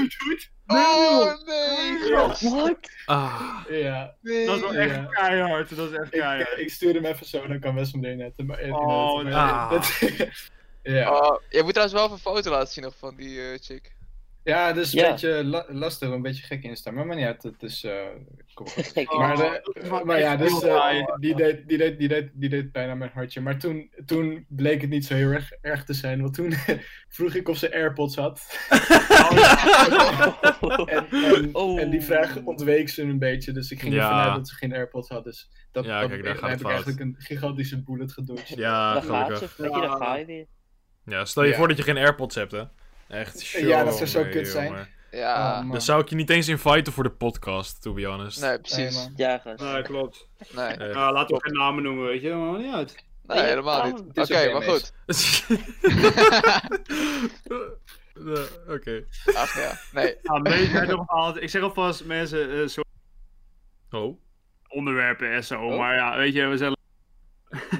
doet.
Oh nee. gast.
What?
Ah,
Ja,
Nee.
Dat is wel
Ja.
echt keihard, dat is echt
ik, eh,
keihard.
ik stuur hem even zo, dan kan Wes hem erin netten. Maar, in-
Oh,
in-
nee.
maar- dat- ja.
Oh, jij moet trouwens wel even een foto laten zien nog van die eh, chick.
ja, dat is een
Ja.
beetje la- lastig, een beetje gek instaan. Maar, maar niet uit, het is... eh, kom op.
Gek.
Oh,
Maar, de-
dat is wel
maar ja,
echt
dus,
heel
eh,
saai.
die, deed, die, deed, die, deed, die deed bijna mijn hartje. Maar toen, toen bleek het niet zo heel erg erg te zijn. Want toen vroeg ik of ze AirPods had. En, en,
Oh.
en die vraag ontweek ze een beetje. Dus ik ging
Ja.
ervan uit dat ze geen AirPods had. Dus dat,
Ja,
dat-
kijk, daar gaat
heb
het
ik
fout.
eigenlijk een gigantische bullet gedoucht.
ja,
Daar gaat
Ah, gelukkig.
ze. Weet je, daar ga je weer.
Ja, stel je
Ja.
voor dat je geen AirPods hebt, hè. Echt,
Ja, dat zou zo
jongen,
kut zijn.
jongen.
Ja,
Oh, man.
Dan zou ik je niet eens inviten voor de podcast, to be honest.
nee,
Nee,
precies.
man.
Ja, gast.
Ja, klopt.
Nee,
Echt.
Ja, laten we geen namen noemen, weet je. Dat maakt niet uit.
nee,
Ja,
helemaal niet.
daarom-
Oké,
is oké,
maar goed.
Eh, Oké.
Ach ja, nee.
Ja, weet jij nog wel- ik zeg alvast mensen, eh, soort
Oh.
onderwerpen en zo.
Oh.
Maar ja, weet je, we zijn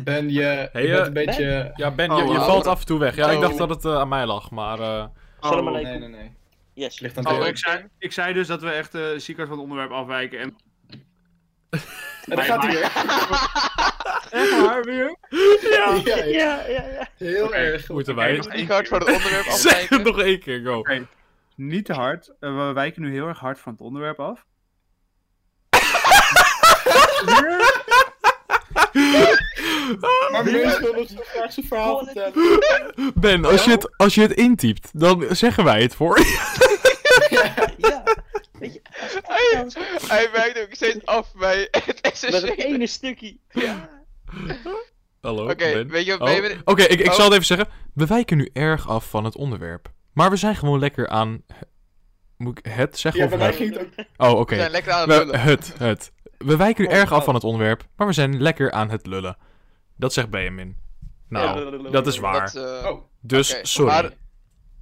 Ben, je,
Hey,
je bent
eh,
een beetje...
Ja, Ben,
Oh,
je, je
wauw.
valt af en toe weg. Ja, ik
Oh.
dacht dat het eh, aan mij lag, maar... eh,
Zal hem maar
Nee, nee, nee.
Yes.
Ligt aan
Oh,
het
ik, zei, Oh, ik zei dus dat we echt eh ziek uit van het onderwerp afwijken. En...
En dan gaat hij weer.
Echt waar, weer?
Ja,
Ja, ja, ja.
heel erg.
moeten
Oké,
wij...
nog
Ik hard voor het onderwerp
Zeg het
afwijken.
nog één keer, go.
Niet te hard. Eh, we wijken nu heel erg hard van het onderwerp af.
Maar Meurs wil nog zo graag zijn verhaal vertellen.
Ben, als je, het, als je het intypt, dan zeggen wij het voor je.
ja. Weet je,
Hij, hij wijkt ook steeds af bij het
met het
SSC.
ene stukje. Ja.
Hallo,
Oké,
Ben.
weet je
Oh.
wat? ben je
Oké,
weer-
ik, ik
Oh.
zal het even zeggen. We wijken nu erg af van het onderwerp. Maar we zijn gewoon lekker aan... Moet ik het zeggen
Ja,
of
bij
het?
mij ging het ook...
Oh, oké.
We zijn lekker aan het
We,
lullen.
het, het. We wijken nu
Oh,
erg af
oh.
van het onderwerp, maar we zijn lekker aan het lullen. Dat zegt Benjamin. Nou, dat is waar.
Dat, eh,
Oh,
dus
Oké,
sorry.
maar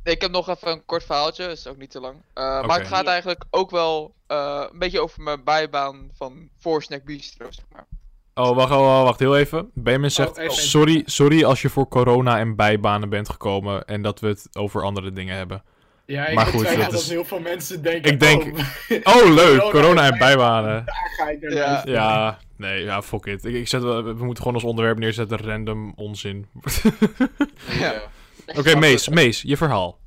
ik heb nog even een kort verhaaltje, is ook niet te lang. Eh,
Oké.
Maar het gaat eigenlijk ook wel eh, een beetje over mijn bijbaan van voor Snack Bistro, zeg maar.
Oh, wacht, oh, oh, wacht, heel even. Benjamin zegt,
even, even.
sorry, sorry als je voor corona en bijbanen bent gekomen en dat we het over andere dingen hebben.
ja,
Maar
ik maar
goed,
goed,
dat
dat
is-
heel veel mensen denken...
Ik denk-
Oh,
Oh, leuk,
Corona
corona en
en
bijbanen.
daar ga ik naar
Ja.
luisteren.
Ja, nee, ja, fuck it. Ik, ik zet, wel- we, moeten gewoon als onderwerp neerzetten random onzin.
Ja.
Oké, Mees, Mees, je verhaal.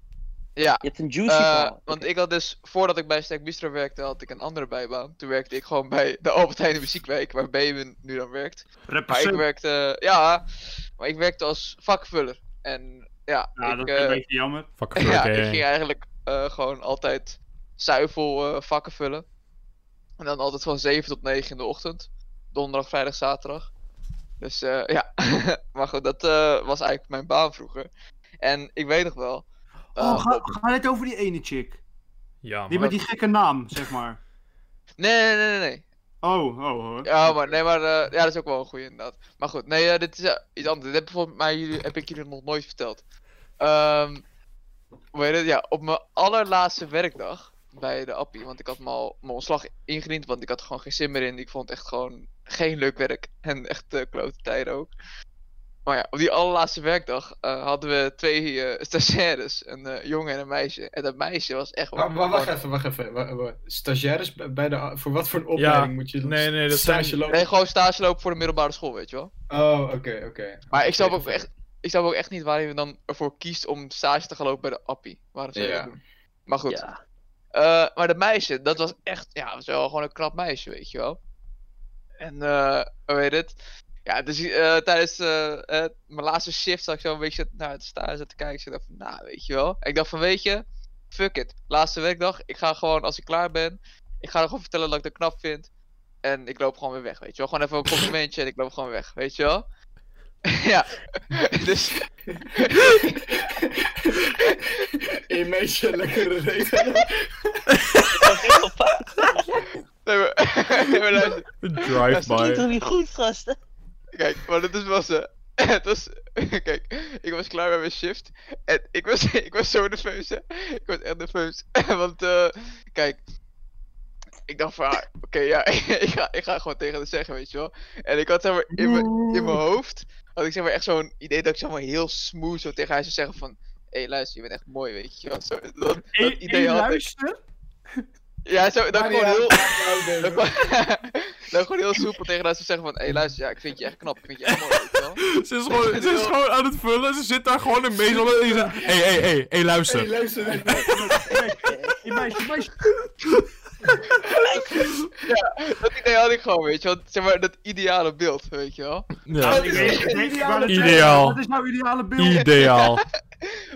ja.
Je hebt een juicy
eh,
verhaal.
want ik had dus, voordat ik bij Snack Bistro werkte, had ik een andere bijbaan. Toen werkte ik gewoon bij de Albert Heijn Muziekweek, waar Baby nu dan werkt. Maar ik
represent.
werkte, ja, maar ik werkte als vakvuller. En ja,
Ja,
ik,
dat
eh,
is een beetje jammer.
Fuck, fuck,
Ja,
eh.
ik ging eigenlijk eh, gewoon altijd zuivel eh, vakken vullen. En dan altijd van 7 tot 9 in de ochtend. Donderdag, vrijdag, zaterdag. Dus eh, ja, maar goed, dat eh, was eigenlijk mijn baan vroeger. En ik weet nog wel. eh,
Oh, ga,
op-
ga dit over die ene chick.
Ja,
Die
maar-
met die gekke naam, zeg maar.
Nee, nee, nee, nee, nee.
Oh, oh, hoor.
Ja, maar, nee, maar eh, ja, dat is ook wel een goede inderdaad. Maar goed, nee, eh, dit is eh, iets anders. Dit heb, volgens mij jullie, heb ik jullie nog nooit verteld. Ehm hoe heet het? Ja, op mijn allerlaatste werkdag bij de Appie, want ik had me al mijn ontslag ingediend, want ik had er gewoon geen zin meer in. Ik vond echt gewoon geen leuk werk en echt eh klote tijden ook. Maar ja, op die allerlaatste werkdag eh, hadden we twee eh stagiaires, een eh, jongen en een meisje. En dat meisje was echt
Maar, maar Ah, wacht even, wacht even. Wa- wa- Stagiaires bij- bij de... Voor wat voor een opleiding moet je...
nee, nee, dat
stage
zijn-
lopen?
Nee, gewoon stage lopen voor de middelbare school, weet je wel.
Oh, oké, oké.
Maar ik snap
Oké,
ook echt, ik snap ook echt niet waarom je dan ervoor kiest om stage te gaan lopen bij de appie. Waarom zou je
Ja.
dat doen? Maar goed.
Ja.
Eh, maar dat meisje, dat was echt, ja, was wel gewoon een knap meisje, weet je wel. En, eh, hoe heet het? Ja, dus eh, tijdens eh, eh, mijn laatste shift zat ik zo een beetje naar het staan zat te kijken. Ik dacht van, nou, weet je wel. Ik dacht van, weet je, fuck it. Laatste werkdag, ik ga gewoon, als ik klaar ben, ik ga haar gewoon vertellen dat ik dat knap vind. En ik loop gewoon weer weg, weet je wel. Gewoon even een complimentje en ik loop gewoon weg, weet je wel. ja, dus...
In meisje lekkere reden.
Nee, maar- nee, maar luister.
Een
Dat klinkt
drive-by.
toch niet goed, gasten?
Kijk, maar dat is was. eh, het was. Kijk, ik was klaar met mijn shift. En ik was, ik was zo nerveus, hè. Ik was echt nerveus. Want, eh. Kijk. Ik dacht van, ah, oké, ja, ik ga, ik ga gewoon tegen haar zeggen, weet je wel. En ik had zeg maar in mijn in mijn hoofd had ik zeg maar echt zo'n idee dat ik zeg maar heel smooth zo tegen haar zou zeggen van... Hé, hey, luister, je bent echt mooi, weet je wel. Zo, dat, dat
Eén
idee had ik.
luister?
Ja, zo, dat ik gewoon heel... Dat ik
heel...
gewoon- dat ik gewoon heel soepel tegen haar zou zeggen van... Hé, hey, luister, ja, ik vind je echt knap, ik vind je echt mooi, weet je wel.
Ze is, gewoon, ze is gewoon aan het vullen, ze zit daar gewoon in Mees. En je zegt, hé, hé, hé, hé,
Hey,
luister.
luister.
Die meisje, meisje.
Dat idee had ik gewoon, weet je wel. Zeg maar, dat ideale beeld, weet je wel.
Ja.
Ik weet- ik weet- ik wou net zeggen,
Ideaal.
Wat is jouw ideale beeld?
Ideaal.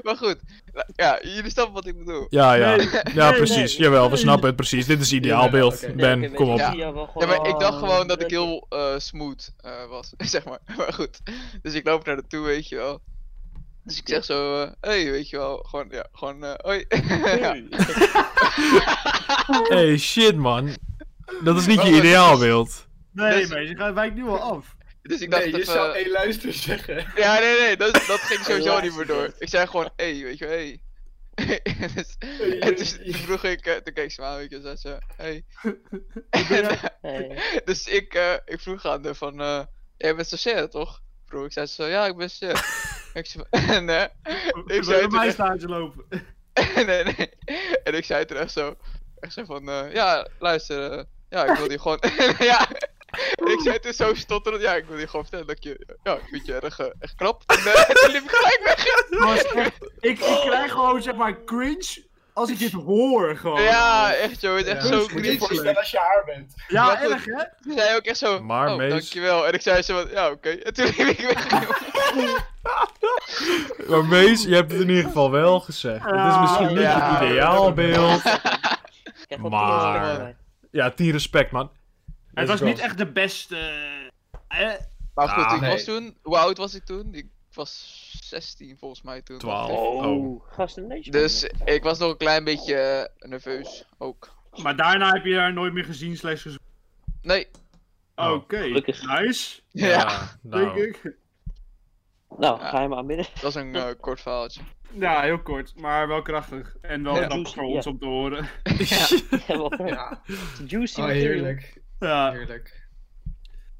Maar goed, nou, ja, jullie snappen wat ik bedoel.
Ja, ja.
Nee,
ja,
nee,
precies.
nee.
Jawel, we snappen het precies. Dit is ideaal
Ja,
beeld.
oké.
Ben,
Nee, ik
kom
weet
op.
het
Ja.
niet, ja, wel
Ja,
gewoon-
maar ik
Oh,
dacht gewoon dat ik
lekker.
heel eh, smooth eh, was, zeg maar. Maar goed, dus ik loop naar haar toe, weet je wel. Dus ik zeg zo, eh, hey, weet je wel, gewoon, ja, gewoon, eh, hoi. ja.
Hey, shit man. Dat is niet
Oh,
je
dat is-
ideaalbeeld.
Nee,
Dus-
meisje, ga wijkt nu al af.
Dus ik dacht
Nee, je
even...
zou één luister zeggen.
Ja, nee, nee, dat, dat ging sowieso
Helaas.
niet meer door. Ik zei gewoon, hé, hey, weet je, hé. Hey. dus,
Hey,
en dus,
hey.
toen vroeg ik, eh, toen keek ze me aan, weet je, zei ze, hé.
Hey.
dus ik, eh, ik vroeg aan haar van, eh jij bent stagiair, toch? Vroeg ik, zei ze, ja, ik ben stagiair. ik zei, en, eh,
Ik zou
ik zei
bij
toen
mij
echt,
stage lopen.
nee, nee. En ik zei toen echt zo, echt zo van, eh, ja, luister, eh, ja, ik wil die gewoon, ja. En ik zei toen zo stotterend, ja, ik wil je gewoon vertellen dat ik je, ja, ik vind je erg, eh, echt knap. En eh, toen liep ik gelijk weg.
Het was echt- ik, ik krijg gewoon zeg maar cringe als ik dit hoor
Oh.
gewoon.
Ja, echt zo. Het is echt
Ja,
zo
dat is
Moet je je
cringe.
voorstellen als je haar bent.
Ja,
maar goed.
erg hè?
Ze zei ook echt zo,
Maar,
oh,
Mees-
dankjewel. En ik zei zo van, ja, oké. En toen liep ik weg.
Maar Mees, je hebt het in ieder geval wel gezegd. Het is misschien niet
Ja.
je ideaalbeeld.
Kijk, wat
Maar-
eerst erbij, man.
Ja, tien respect man.
Het was
Let's go.
niet echt de beste. eh,
Maar goed,
Ah,
ik
nee.
was toen... Hoe oud was ik toen? Ik was 16 volgens mij toen.
12. Oh.
Oh, gasten, nee.
Dus ik was nog een klein beetje eh, nerveus ook.
maar daarna heb je haar nooit meer gezien, slechts gesproken.
Nee.
Oh.
Oké,
Gelukkig.
nice.
Ja,
nou.
Denk ik.
Nou,
Ja.
ga je maar aanbidden.
dat was een eh, kort verhaaltje.
Ja, heel kort, maar wel krachtig. En wel
Ja.
grappig voor ons om te horen.
Ja, wat
Ja,
juicy
oh,
material.
heerlijk.
Ja,
Heerlijk.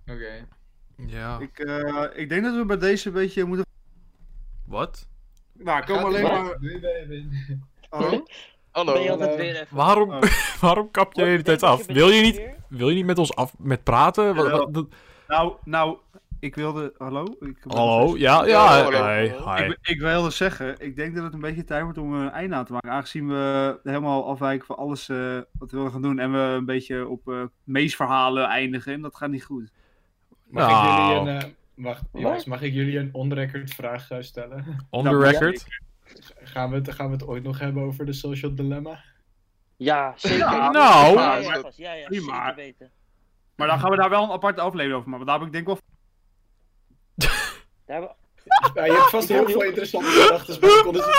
Oké.
Ja.
Ik, eh, ik denk dat we bij deze een beetje moeten...
Wat?
Nou, kom
Gaat
alleen
ie,
maar...
man. Doei, baby.
Hallo?
Hallo.
Ben je altijd
Hallo.
weer even...
Waarom,
Oh.
waarom kap je de hele tijd af? Wil je niet, wil je niet met ons af met praten? Wat- wat- dat-
Nou, nou, ik wilde... Hallo? Ik
hallo? Ja,
Ja,
ja.
hallo.
Hi,
Ik,
hi.
be- ik wilde zeggen, ik denk dat het een beetje tijd wordt om er een einde aan te maken. Aangezien we helemaal afwijken van alles eh, wat we willen gaan doen. En we een beetje op eh meesverhalen eindigen. En dat gaat niet goed.
Mag
Nou.
ik jullie een... eh, wacht, jongens, mag ik jullie een on-record vraag eh, stellen?
On
Nou,
the
ja,
record.
Gaan we, het, gaan we het ooit nog hebben over de social dilemma?
Ja, zeker.
Ja,
nou.
Ja, ja,
maar-
gast, ja, ja,
prima.
zeker weten.
maar dan gaan we daar wel een aparte aflevering over maken. want Daar heb ik denk wel
Daar hebben
Oh,
we-
Ja, je hebt vast
Ik
heel
wil-
veel interessante gedachten, maar ik kon het niet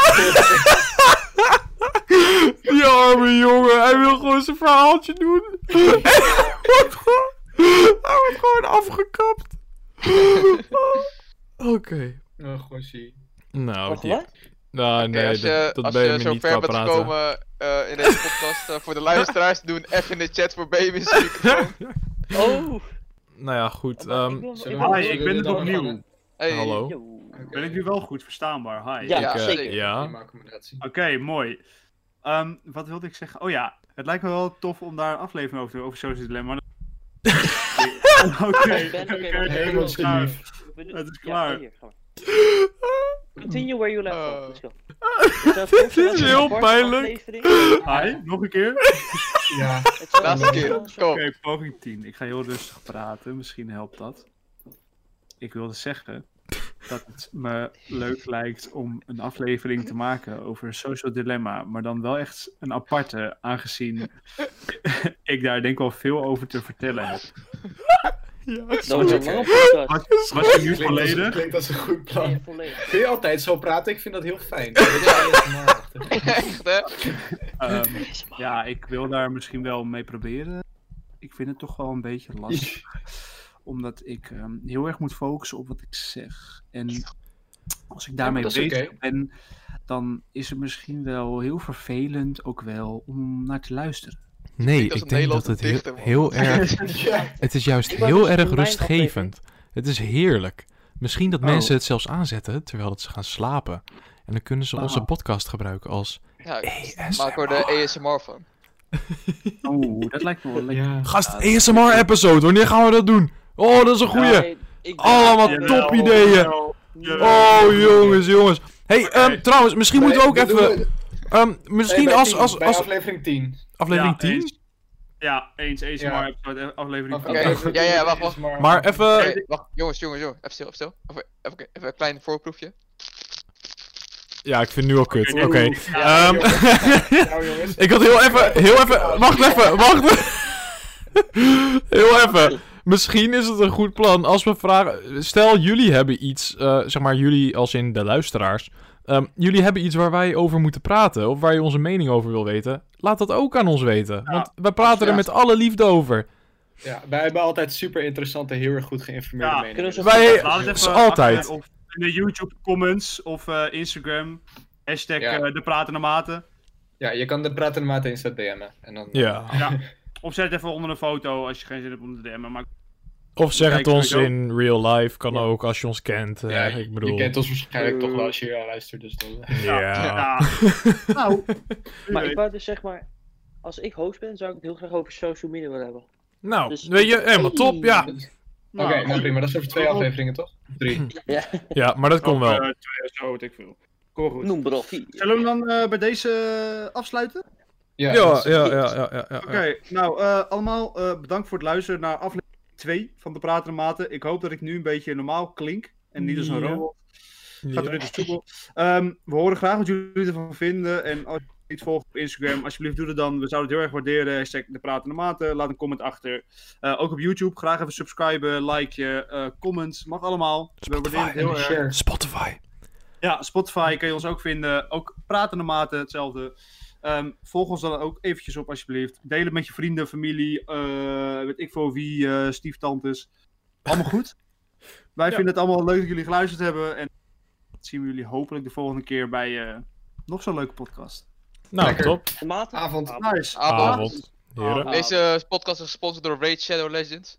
Die arme jongen, hij wil gewoon zijn verhaaltje doen. hij, wordt gewoon, hij wordt gewoon afgekapt. Oké.
Oh, gewoon zie.
Nou,
Wacht,
die...
wat?
Nou,
Oké,
nee,
als je,
dat, dat
als
ben je
je
me
zo
niet
ver
qua
bent
praten.
gekomen eh, in deze podcast, eh, voor de luisteraars, doen F in de chat voor baby's.
Oh!
nou ja, goed.
maar
ehm,
ik wil- ik
Ah,
zullen
wil-
we-
Hi, ik ben er
dan
opnieuw.
gaan-
Hey.
Hallo.
Yo.
Oké.
Ben ik nu wel goed verstaanbaar? Hi.
Ja,
Ja,
ik, eh,
zeker.
ja.
Prima accommodatie.
Oké, mooi. Ehm, wat wilde ik zeggen? Oh ja, het lijkt me wel tof om daar een aflevering over te doen, over Social Dilemma. Oké, oké,
Ben, oké,
oké,
ben,
oké,
ben,
is klaar.
We doen-
Het is
ja,
klaar.
hier, ga maar. Continue where you left off. Let's go.
Eh. dit is heel pijnlijk.
Hi, nog een keer?
Ja,
Laatste keer.
Oké,
Kom.
poging 10. Ik ga heel rustig praten, misschien helpt dat. Ik wilde zeggen dat het me leuk lijkt om een aflevering te maken over Social Dilemma, maar dan wel echt een aparte, aangezien ik daar denk ik wel veel over te vertellen heb.
Ja,
Dat was een lange podcast.
Was, was je nu
klinkt als,
volledig?
klinkt als een goed
Nee,
plan.
volledig.
Kun je altijd zo praten? Ik vind dat heel fijn. Dat is wel ASMR-achtig.
Echt, hè?
Ehm, ja, ik wil daar misschien wel mee proberen. Ik vind het toch wel een beetje lastig. omdat ik ehm, heel erg moet focussen op wat ik zeg. En als ik daarmee
dat is
bezig
oké.
ben, dan is het misschien wel heel vervelend ook wel om naar te luisteren.
Nee,
als een Nederlandse dichter, man.
erg...
Ja,
Het is juist
Dit was
heel
dus
erg
mijn
rustgevend. Het is heerlijk. Misschien dat
Oh.
mensen het zelfs aanzetten terwijl dat ze gaan slapen. En dan kunnen ze onze
Ah.
podcast gebruiken als
Ja, maak
ASMR.
er de ASMR van.
Oeh, dat lijkt me wel lekker.
ja.
Gast, ASMR-episode. Wanneer gaan we dat doen? Oh, dat is een goeie.
Nee, ik ben-
Allemaal
Ja,
top ideeën. Oh, jongens, jongens. hey, ehm, trouwens, misschien moeten we ook
Nee, dat doen
even...
we-
ehm, misschien
nee, bij
als,
tien,
als,
bij
als...
aflevering 10.
Aflevering
Ja,
10?
eens. Ja, eens ASMR
Ja.
episode, aflevering
Oké,
van-
ja, ja, wacht, wacht.
ASMR.
Maar eh, even...
Oké, wacht, jongens, jongens, jongens. Even stil, even stil. Even, even, oké, even een klein voorproefje.
Ja, ik vind het nu al kut. Oké.
Oké,
Ehm,
Nou jongens,
ik had heel even... Heel even... Wacht even, wacht Heel even. Misschien is het een goed plan als we vragen. Stel, jullie hebben iets, eh, zeg maar jullie als in de luisteraars. Ehm, jullie hebben iets waar wij over moeten praten. Of waar je onze mening over wil weten. Laat dat ook aan ons weten. Want we praten er
ja.
met alle liefde over.
Ja, wij hebben altijd super interessante, heel erg goed geïnformeerde
Ja,
meningen.
kunnen
Wij,
Laat het
is
even
altijd.
achter op- in de YouTube comments of eh, Instagram. Hashtag
Ja.
eh, de pratende maten.
Dus- Ja, je kan de pratende maat eens wat DM'en. En dan...
Ja.
Of zet het even onder een foto als je geen zin hebt om te DM'en. Maar
Of zeg het
Kijk,
ons
sowieso.
in real life. Kan
Ja.
ook als je ons kent. eh,
Ja,
ik bedoel.
Je kent ons waarschijnlijk toch wel als je hier aan luistert, dus dan...
Ja.
ja. nou, wie
Maar ik
weet.
wou dus zeg maar, als ik host ben, zou ik het heel graag over social media willen hebben.
Nou,
Dus-
weet je, helemaal top. Ja,
Oké, nou prima. Dat is over twee afleveringen, toch? Drie.
Ja,
ja maar dat komt
Of,
wel.
eh, twee of zo, weet ik veel. Kom goed.
noem erop.
Zullen we hem dan eh, bij deze afsluiten?
Ja,
Ja,
dat is-
ja, ja, ja, ja, ja.
Oké, nou eh, allemaal eh, bedankt voor het luisteren naar aflevering 2 van de Pratende Maten. Ik hoop dat ik nu een beetje normaal klink en niet als een
Ja.
robot. Gaat er
Ja.
weer de soepel. Ehm, we horen graag wat jullie ervan vinden. En als je niet volgt op Instagram, alsjeblieft doe het dan. We zouden het heel erg waarderen. Hashtag de pratende maten. Laat een comment achter. Eh, ook op YouTube. Graag even subscriben, like, comments. Mag allemaal. We waarderen het heel erg.
Share.
Spotify.
Ja, Spotify kun je ons ook vinden. Ook pratende maten, hetzelfde. Ehm, volg ons dan ook eventjes op, alsjeblieft. Deel het met je vrienden, familie, eh weet ik voor wie, eh, stieftantes. Allemaal goed. Wij
Ja.
vinden het allemaal leuk dat jullie geluisterd hebben. En dat zien we jullie hopelijk de volgende keer bij eh, nog zo'n leuke podcast.
Nou,
Lekker.
top.
En maten?
Avond.
Nice.
Avond.
Ah.
Avond. Heren.
Deze podcast is gesponsord door Raid Shadow Legends.